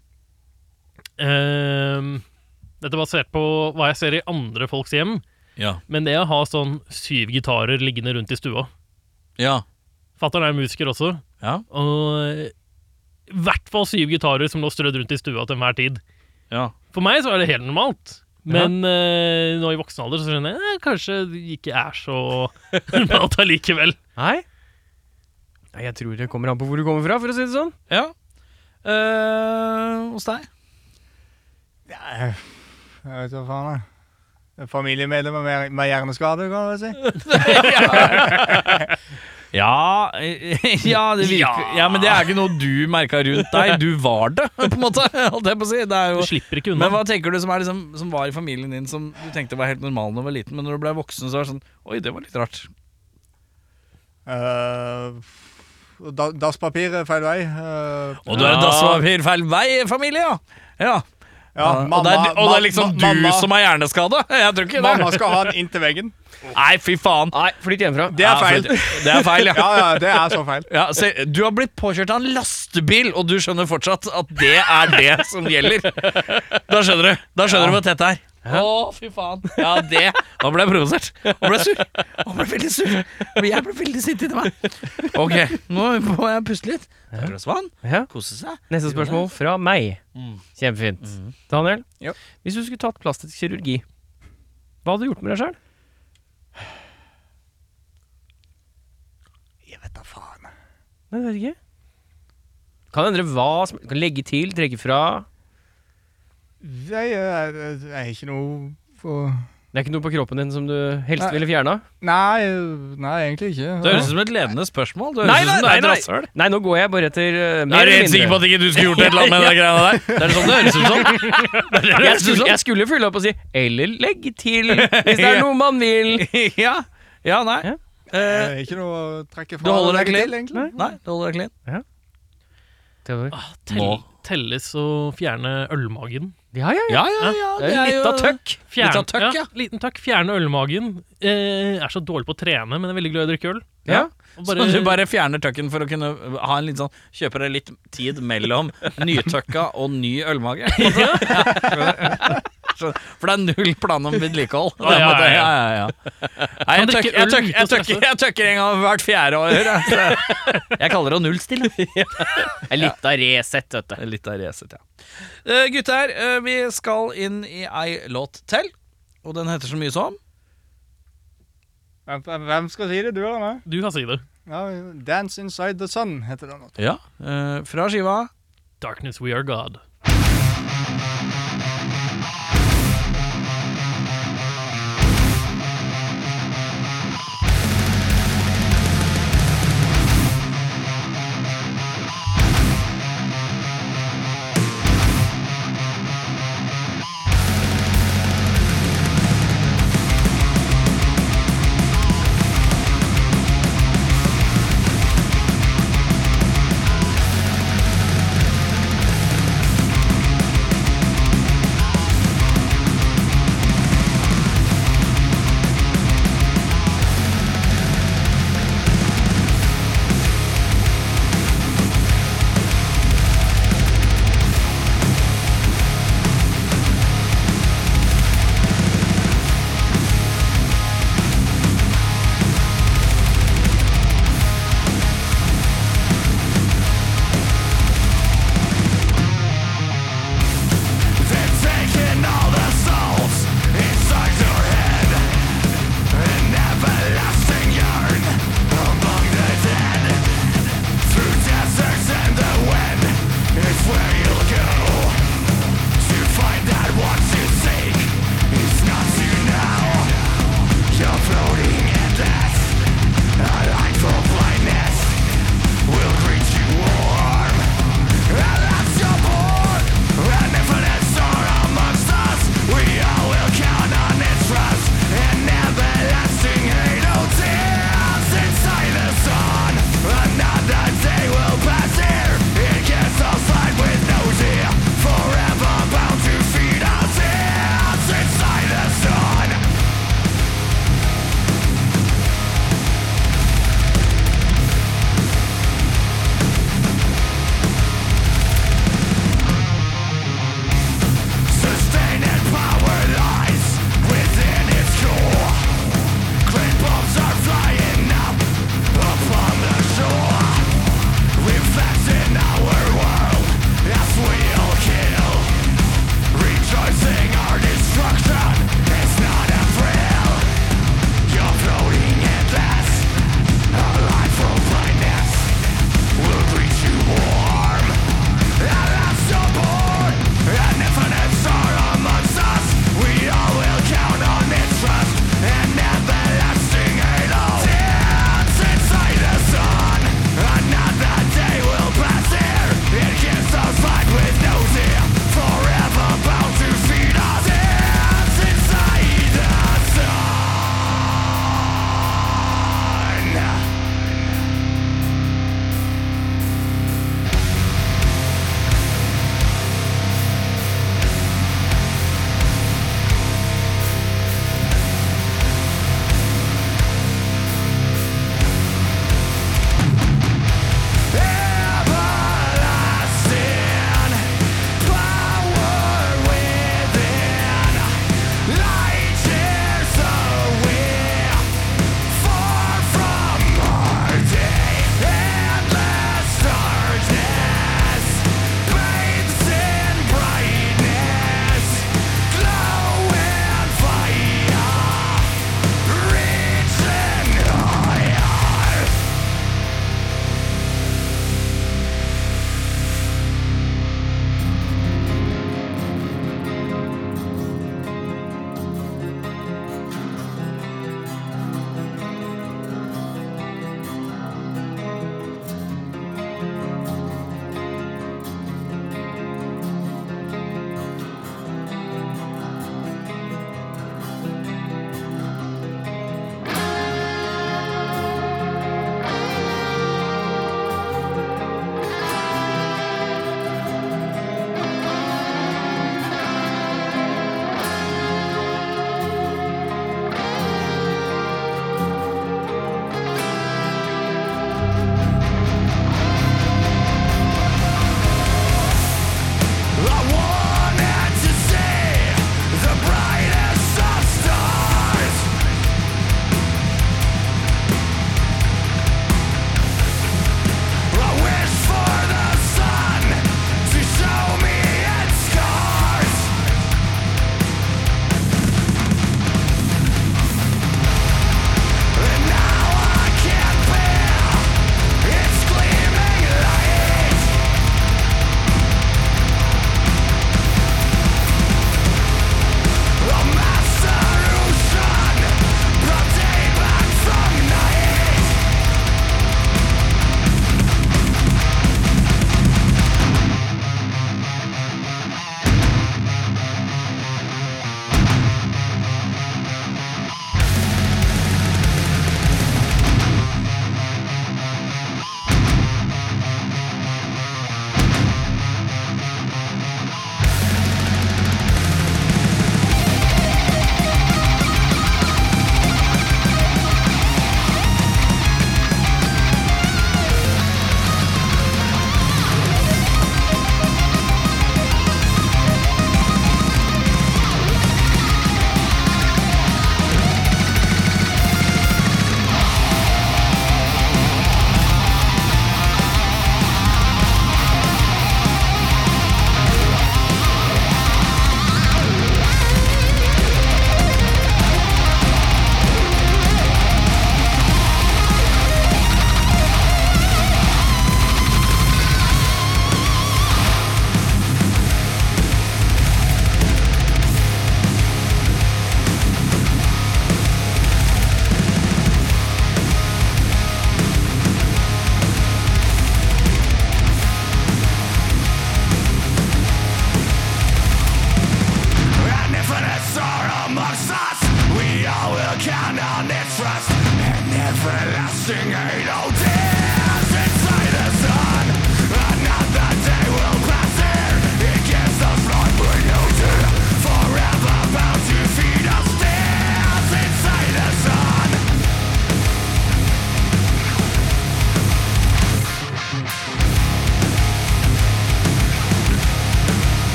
S3: Ehm, dette er basert på hva jeg ser i andre folks hjem,
S1: Ja.
S3: men det å ha sånn syv gitarer liggende rundt i stua
S1: Ja.
S3: Fattern er musiker også,
S1: Ja.
S3: og i hvert fall syv gitarer som lå strødd rundt i stua til enhver tid.
S1: ja.
S3: For meg så er det helt normalt. Men eh, nå i voksen alder så (laughs) skjønner jeg eh, kanskje det ikke er så normalt allikevel.
S2: Nei? Nei, Jeg tror det kommer an på hvor du kommer fra, for å si det sånn.
S1: Ja. Eh, hos deg?
S4: Ja, jeg jeg vet hva faen, jeg. Det er Familiemedlemmer med, med hjerneskade, kan du si.
S1: Ja (laughs) ja, det virker, ja, men det er ikke noe du merka rundt deg. Du var det, (laughs) på en måte. Holdt jeg på å si. Det er
S3: Du
S1: jo
S3: slipper ikke
S1: Men
S3: (laughs) unna.
S1: hva tenker du som, er liksom, som var i familien din som du tenkte var helt normal da du var liten, men når du ble voksen, så var det sånn Oi, det var litt rart.
S4: Eh, og da- Dasspapir er feil vei. eh,
S1: Og du er en dasspapir feil vei, familie, ja. ja.
S4: ja,
S1: og, det er, og det er liksom
S4: ma-
S1: du
S4: mamma,
S1: som er hjerneskada? (laughs) Jeg tror ikke det.
S4: Mamma skal ha den inntil
S1: (laughs)
S4: veggen.
S1: Nei, fy faen.
S2: Nei, flytt hjemmefra.
S4: Det er
S1: Ja,
S4: feil.
S1: for- Det er feil, ja.
S4: (laughs) Ja, ja, det er så feil.
S1: ja se, du har blitt påkjørt av en lastebil, og du skjønner fortsatt at det er det som gjelder. Da skjønner du Da skjønner du hvor tett det er. Å, fy faen. Ja, det Da ble jeg provosert. Og ble sur. Og ble veldig sur. Men jeg ble veldig sint inni meg. Ok, nå må jeg puste litt. Ta et glass vann,
S2: Ja.
S1: kose seg.
S2: Neste spørsmål fra meg. Kjempefint. Daniel,
S4: Ja.
S2: hvis du skulle tatt plastisk kirurgi, hva hadde du gjort med deg sjøl?
S4: Jeg vet da faen.
S2: Nei, det vet jeg ikke. Kan endre hva som Kan legge til, trekke fra.
S4: Jeg, jeg, jeg, jeg er ikke noe for
S2: Det er ikke noe på kroppen din som du helst
S4: Nei.
S2: ville fjerna?
S4: Nei, nei, egentlig ikke.
S1: Det høres ut som et ledende spørsmål. Det
S2: Nei,
S1: høres ut som du
S2: nei,
S1: er et
S2: nei, nei.
S1: rasshøl.
S2: Nei, nå går jeg bare etter eh, mer
S1: Jeg er
S2: eller
S1: helt sikker på
S2: mindre.
S1: at ikke du skulle gjort et eller (laughs) annet med de greiene der. Det er sånn det høres ut som. Det er det sånn?
S2: Jeg
S1: høres ut
S2: skulle,
S1: som.
S2: jeg skulle fylle opp og si 'eller legge til', hvis
S1: (laughs)
S2: det er
S1: Ja.
S2: noe man vil.
S1: Ja, ja nei.
S2: Ja.
S1: Eh,
S4: Det er ikke noe å trekke fra.
S1: du holder deg
S4: eller legge
S1: clean?
S4: til, egentlig.
S1: Nei, du holder deg clean.
S2: Theodor.
S3: Tell, telles å fjerne ølmagen.
S2: Ja, ja, ja.
S1: Ja, ja, ja.
S2: Det er litt av tøkk.
S1: Litt av tøkk, ja.
S3: Liten tøkk. Fjerne ølmagen. Eh, er så dårlig på å trene, men er veldig glad i å drikke øl.
S2: Ja.
S3: Og
S1: Så du bare fjerner tøkken for å kunne ha en litt sånn Kjøper deg litt tid mellom nytøkka og ny (laughs) ølmage? på en måte? Ja, skjønner. For det er null plan om vedlikehold. Det er på en måte- Ja, ja, ja. Nei, jeg tøkker, jeg, tøkker, jeg, tøkker, jeg tøkker en gang hvert fjerde år. jeg, så (laughs) Jeg kaller det å nullstille.
S2: Det er Litt av Resett, vet du.
S1: Litt av racet, ja. Eh, gutter, eh, vi skal inn i ei låt til. Og den heter så mye som
S4: Hvem- Hvem hvem skal si det? Du eller meg?
S3: Du kan si det.
S4: Ja, 'Dance Inside the Sun' heter den. låta.
S1: Ja. eh, fra skiva
S3: Darkness we are God.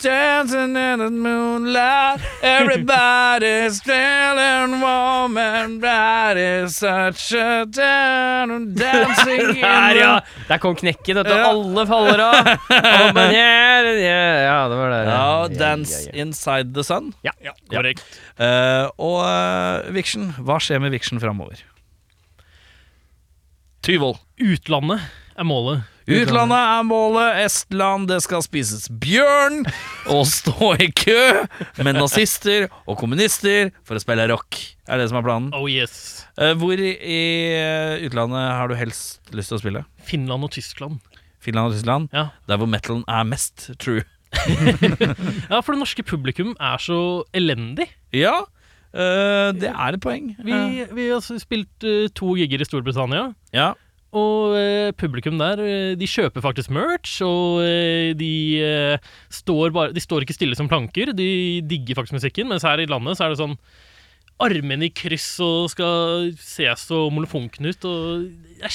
S1: dancing in the moonlight. Everybody's feeling warm and bright. It's such a down dancing in
S2: Der, ja!
S1: the
S2: Der kom knekken, vet du.
S1: Ja.
S2: Alle faller av. Habanero, ja, ja, det var det.
S1: Ja, Dance Inside the Sun.
S4: Ja.
S3: Korrekt.
S1: Eh, og eh, Vixen, hva skjer med Vixen framover? Tyvoll.
S3: Utlandet er målet.
S1: Utlandet er målet, Estland, det skal spises bjørn og stå i kø med nazister og kommunister for å spille rock. Er det som er planen?
S3: Oh yes.
S1: Eh, Hvor i eh, utlandet har du helst lyst til å spille?
S3: Finland og Tyskland.
S1: Finland og Tyskland?
S3: Ja.
S1: Der hvor metalen er mest true.
S3: ja, for det norske publikum er så elendig.
S1: Ja, eh, det er et poeng.
S3: Vi,
S1: Eh,
S3: vi har s- spilt eh, to gigger i Storbritannia.
S1: ja.
S3: Og eh, publikum der, eh, de kjøper faktisk merch, og eh, de, eh, står bare, de står ikke stille som planker. De digger faktisk musikken, mens her i landet så er det sånn Armene i kryss og skal se så molefonken ut, og det er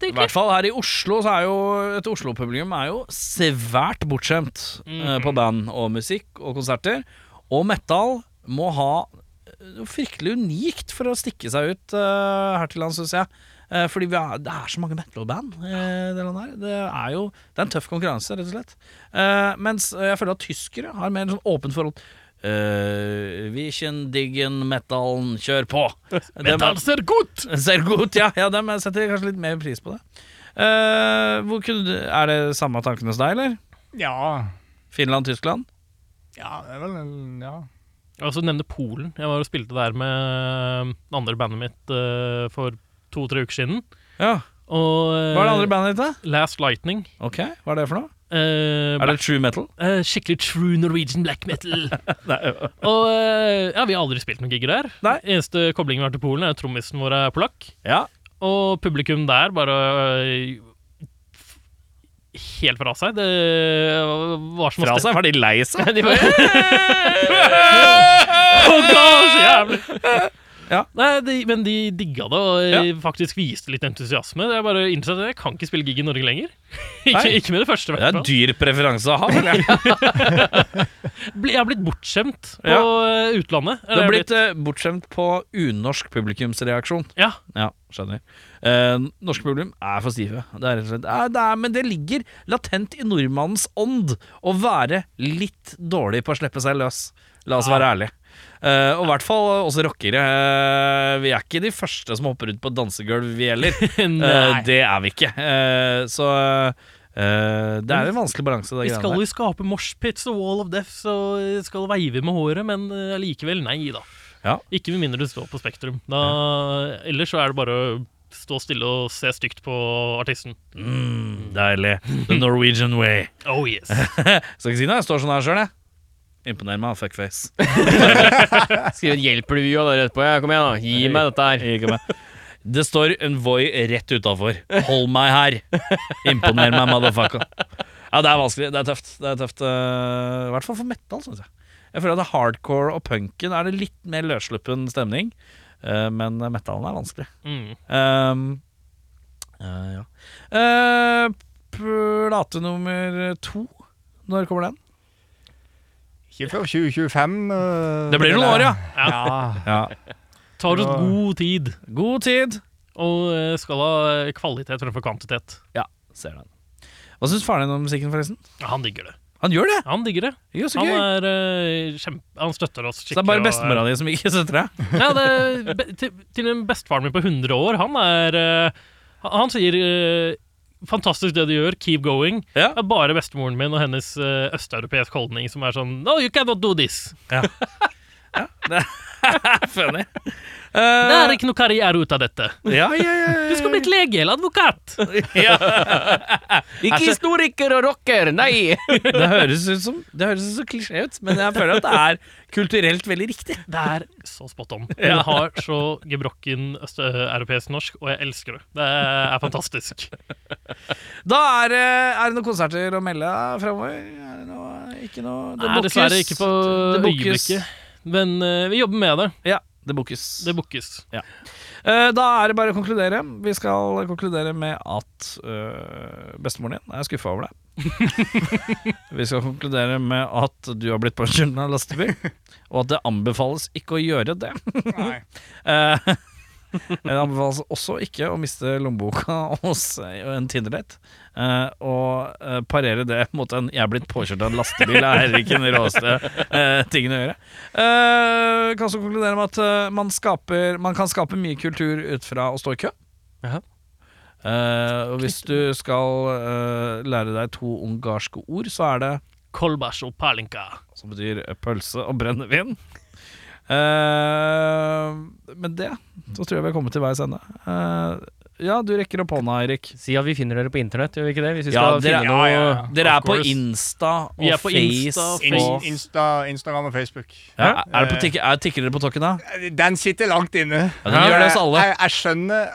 S1: I hvert
S3: egentlig.
S1: fall her i Oslo så er jo et Oslo-publikum er jo svært bortskjemt eh, på band og musikk og konserter. Og metal må ha eh, noe fryktelig unikt for å stikke seg ut eh, her til lands, syns jeg. Eh, fordi vi er, det er så mange metal-band eh, i det landet her. Det er jo det er en tøff konkurranse, rett og slett. Eh, mens jeg føler at tyskere har mer sånn åpent forhold. Uh, Vichen, diggen, metallen, kjør på! Dem er-
S3: Metal ser godt!
S1: (laughs) Ser godt, ja. ja dem setter kanskje litt mer pris på det. Eh, hvor kunne, du- er det samme tanken hos deg, eller?
S4: ja.
S1: Finland, Tyskland?
S4: Ja, det er vel en Ja.
S3: Jeg vil også nevne Polen. Jeg var og spilte der med det andre bandet mitt eh, for to-tre uker siden.
S1: Ja.
S3: Og eh,
S1: Hva er det andre bandet ditt, da?
S3: Last Lightning.
S1: Ok, Hva er det for noe?
S3: Eh,
S1: Er det true metal?
S3: Eh, skikkelig true Norwegian black
S1: (laughs)
S3: metal. og eh, ja, vi har aldri spilt noen gigger der.
S1: Nei.
S3: Eneste koblingen vi har til Polen, er at trommisen vår er polakk.
S1: Ja.
S3: Og publikum der bare eh, f- Helt fra seg. Det var som å
S1: Fra
S3: ste-
S1: seg? Var de lei seg?
S3: (laughs) De bare oh, God, så jævlig.
S1: Ja.
S3: Nei, de, men de digga det og eh, faktisk viste litt entusiasme. Jeg bare innså at jeg kan ikke spille gig i Norge lenger. (laughs) ikke,
S1: Nei.
S3: ikke med det første. i
S1: Det er
S3: hvert
S1: en
S3: fall.
S1: dyr preferanse å ha. vel, jeg.
S3: Bli- Jeg har blitt bortskjemt på eh, utlandet.
S1: Du har blitt eh, bortskjemt på unorsk publikumsreaksjon.
S3: Ja.
S1: Ja, skjønner. Eh, norske publikum er for stive. Det er rett og slett, Eh, det er, men det ligger latent i nordmannens ånd å være litt dårlig på å slippe seg løs. La oss være ærlige. Eh, og i hvert fall også rockere. Eh, vi er ikke de første som hopper ut på dansegulv, vi
S3: (laughs)
S1: heller. Eh,
S3: Nei.
S1: det er vi ikke. Eh, så eh, det er en vanskelig balanse.
S3: Vi
S1: det
S3: skal
S1: greiene der.
S3: jo skape moshpits og wall of death og skal veive med håret, men eh, allikevel, nei da.
S1: Ja.
S3: Ikke med mindre du står på Spektrum. Da, Ellers så er det bare å stå stille og se stygt på artisten.
S1: Mm, deilig. The Norwegian way.
S3: Oh
S1: (laughs)
S3: yes.
S1: Skal ikke si noe, jeg står sånn her sjøl, jeg. Imponerer meg, fuckface.
S2: Skriv et hjelp-review av det rett på. Ja. Kom igjen, da. Gi meg dette her.
S1: Ikke (laughs) meg. Det står en Voi rett utafor. Hold meg her! Imponer meg, motherfucker. Ja, det er vanskelig. Det er tøft. Det er tøft eh, I hvert fall for metal, syns jeg. Jeg føler at det er hardcore og punken er det litt mer løssluppen stemning. eh, men metalen er vanskelig.
S3: Mm.
S1: Ehm, eh, ja. Eh, plate nummer to. Når kommer den?
S4: Ikke før 2025. eh,
S1: Det blir noen år, ja.
S4: Ja.
S1: (laughs) ja.
S3: Tar ut
S4: Ja.
S3: god tid
S1: God tid.
S3: og eh, skal ha eh, kvalitet fremfor kvantitet.
S1: Ser den. Hva syns faren din om musikken, forresten?
S3: Ja, Han digger det.
S1: Han gjør det!
S3: Han digger det.
S1: Jø, så
S3: Han,
S1: gøy.
S3: er, eh, kjempe, han støtter oss
S1: Så
S3: skikkelig.
S1: det er bare
S3: og er-
S1: bestemora di som ikke støtter deg?
S3: Ja, det, er be- til, til en bestefaren min på 100 år, han er eh, Han han sier eh, Fantastisk det du gjør, keep going.
S1: Ja.
S3: Det er bare bestemoren min og hennes eh, østeuropeisk holdning som er sånn No, you cannot do this! (laughs)
S1: Funny. Eh,
S3: Det er ikke noe karriere ut av dette.
S1: ja, ja, ja,
S3: Du skal bli et lege eller advokat!
S2: Ikke historiker og rocker, (laughs) nei!
S1: Det høres ut som Det høres ut som klisjé ut, men jeg føler at det er kulturelt veldig riktig.
S3: Det er så spot on. Hun har så gebrokken østeuropeisk norsk, og jeg elsker det. Det er fantastisk.
S1: Da er, det- er det noen konserter å melde framover? Er det noe Ikke noe
S3: Det er dessverre ikke på
S1: Det bookes.
S3: øyeblikket, men eh, vi jobber med det.
S1: Ja, det bookes.
S3: Det bookes.
S1: Eh, da er det bare å konkludere. Vi skal konkludere med at eh, bestemoren din er skuffa over deg. Vi skal konkludere med at du har blitt påkjørt av en lastebil, og at det anbefales ikke å gjøre det.
S4: Nei.
S1: (laughs) Eh, Det anbefales også ikke å miste lommeboka hos en Tinder-date. Eh, og eh, parere det mot en 'jeg er blitt påkjørt av en lastebil' er heller ikke den råeste eh, tingen å gjøre. Eh, kan også konkludere med at eh, man, skaper, man kan skape mye kultur ut fra å stå i kø.
S2: Jaha.
S1: Eh, og hvis du skal eh, lære deg to ungarske ord, så er det
S3: Kolbæsj og perlinka.
S1: som betyr eh, pølse og brennevin. Eh, med det så tror jeg vi har kommet til veis ende. Eh, ja, du rekker opp hånda, Eirik.
S2: Si at vi finner dere på internett, gjør vi ikke det? Hvis vi
S1: Ja,
S2: skal
S1: dere-
S2: finne
S4: ja,
S2: noe
S4: ja, ja.
S1: Dere er
S4: Of
S1: på
S4: course.
S1: Insta og
S3: Vi er på
S1: Face.
S3: Insta,
S1: og-
S4: Ins- Insta, Instagram og Facebook.
S1: ja, er det på tikke, er, tikker dere på tokken, da?
S4: Den sitter langt inne.
S1: Ja, den gjør det hos alle.
S4: Jeg, jeg skjønner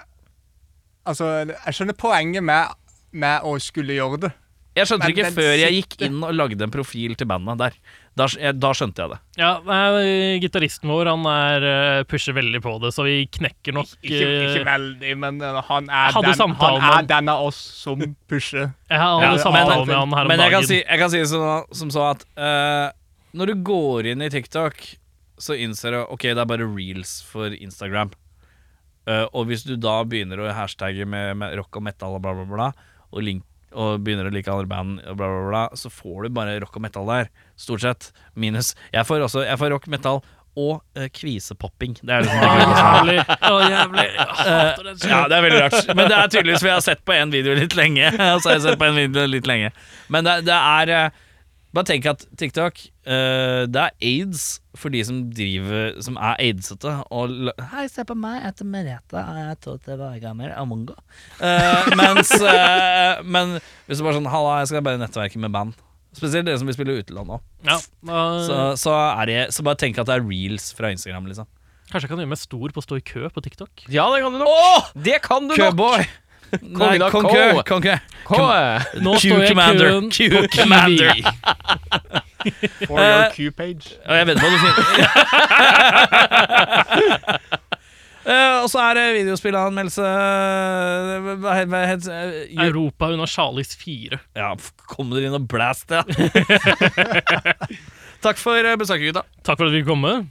S4: Altså, jeg skjønner poenget med, med å skulle gjøre det.
S1: Jeg skjønte
S4: Men
S1: ikke
S4: den
S1: før jeg gikk
S4: sitter-
S1: inn og lagde en profil til bandet der. Da, sk- jeg, da skjønte jeg det.
S3: Ja, nei, gitaristen vår han er, eh, pusher veldig på det, så vi knekker nok
S4: Ikke, ikke
S3: eh,
S4: veldig, men eh, han
S3: Jeg
S4: er,
S3: hadde
S4: den,
S3: samtale
S4: han
S3: med
S4: er
S3: han.
S4: den av oss som pusher.
S3: Jeg har
S4: Ja,
S3: alle
S4: men-
S3: samtaler med han her om
S1: Men jeg
S3: dagen.
S1: kan
S3: (laughs)
S1: si, jeg kan si som, som så at eh, når du går inn i TikTok, så innser du ok, det er bare reels for Instagram. Eh, og hvis du da begynner å hashtagge med, med rock og metal og bla, bla, bla, og, link, og begynner å like andre band, og bla, bla, bla, så får du bare rock og metal der. Stort sett. Minus. Jeg får også jeg får rock, metal og eh, kvisepopping. Det er liksom
S3: (laughs)
S1: det jeg
S3: Ah, jævlig. Å, jævlig. Jeg hater den
S1: ja, det er veldig rart. Men det er tydeligvis for jeg har sett på en video litt lenge. (laughs) Så har jeg sett på en video litt lenge Men det, det er eh, Bare tenk at TikTok eh, Det er aids for de som driver Som er aidsete. Og la- Hei, se på meg. Jeg heter Merete. og Jeg er 12 år gammel. Jeg er mongo. Eh, mens eh, Men hvis du bare sånn Halla, jeg skal bare nettverke med band. Spesielt dere som vil spille i utlandet òg.
S3: Ja, da-
S1: Så, så, er det- så bare tenk at det er reels fra Instagram, liksom.
S3: Kanskje jeg kan gjøre meg stor på å stå i kø på TikTok?
S2: Ja, det kan du nok. det kan du nok!
S1: Køboy! Nei,
S2: av
S1: Kong
S2: Kø.
S1: Kø, Kong Kø.
S2: Kø.
S3: Nå
S1: Q
S3: står jeg i
S1: Commander.
S3: køen
S1: Q
S3: på Kiwi.
S1: Commander. (laughs)
S4: For your Q-page.
S1: Ja, jeg vet hva du finner. Eh, og så er det videospillanmeldelse eh, Hva het hva het- eh, ju-
S3: Europa under Charlies 4.
S1: Ja, f- kom dere inn og blast det. Takk for eh, besøket, gutta.
S3: Takk for at vi fikk komme.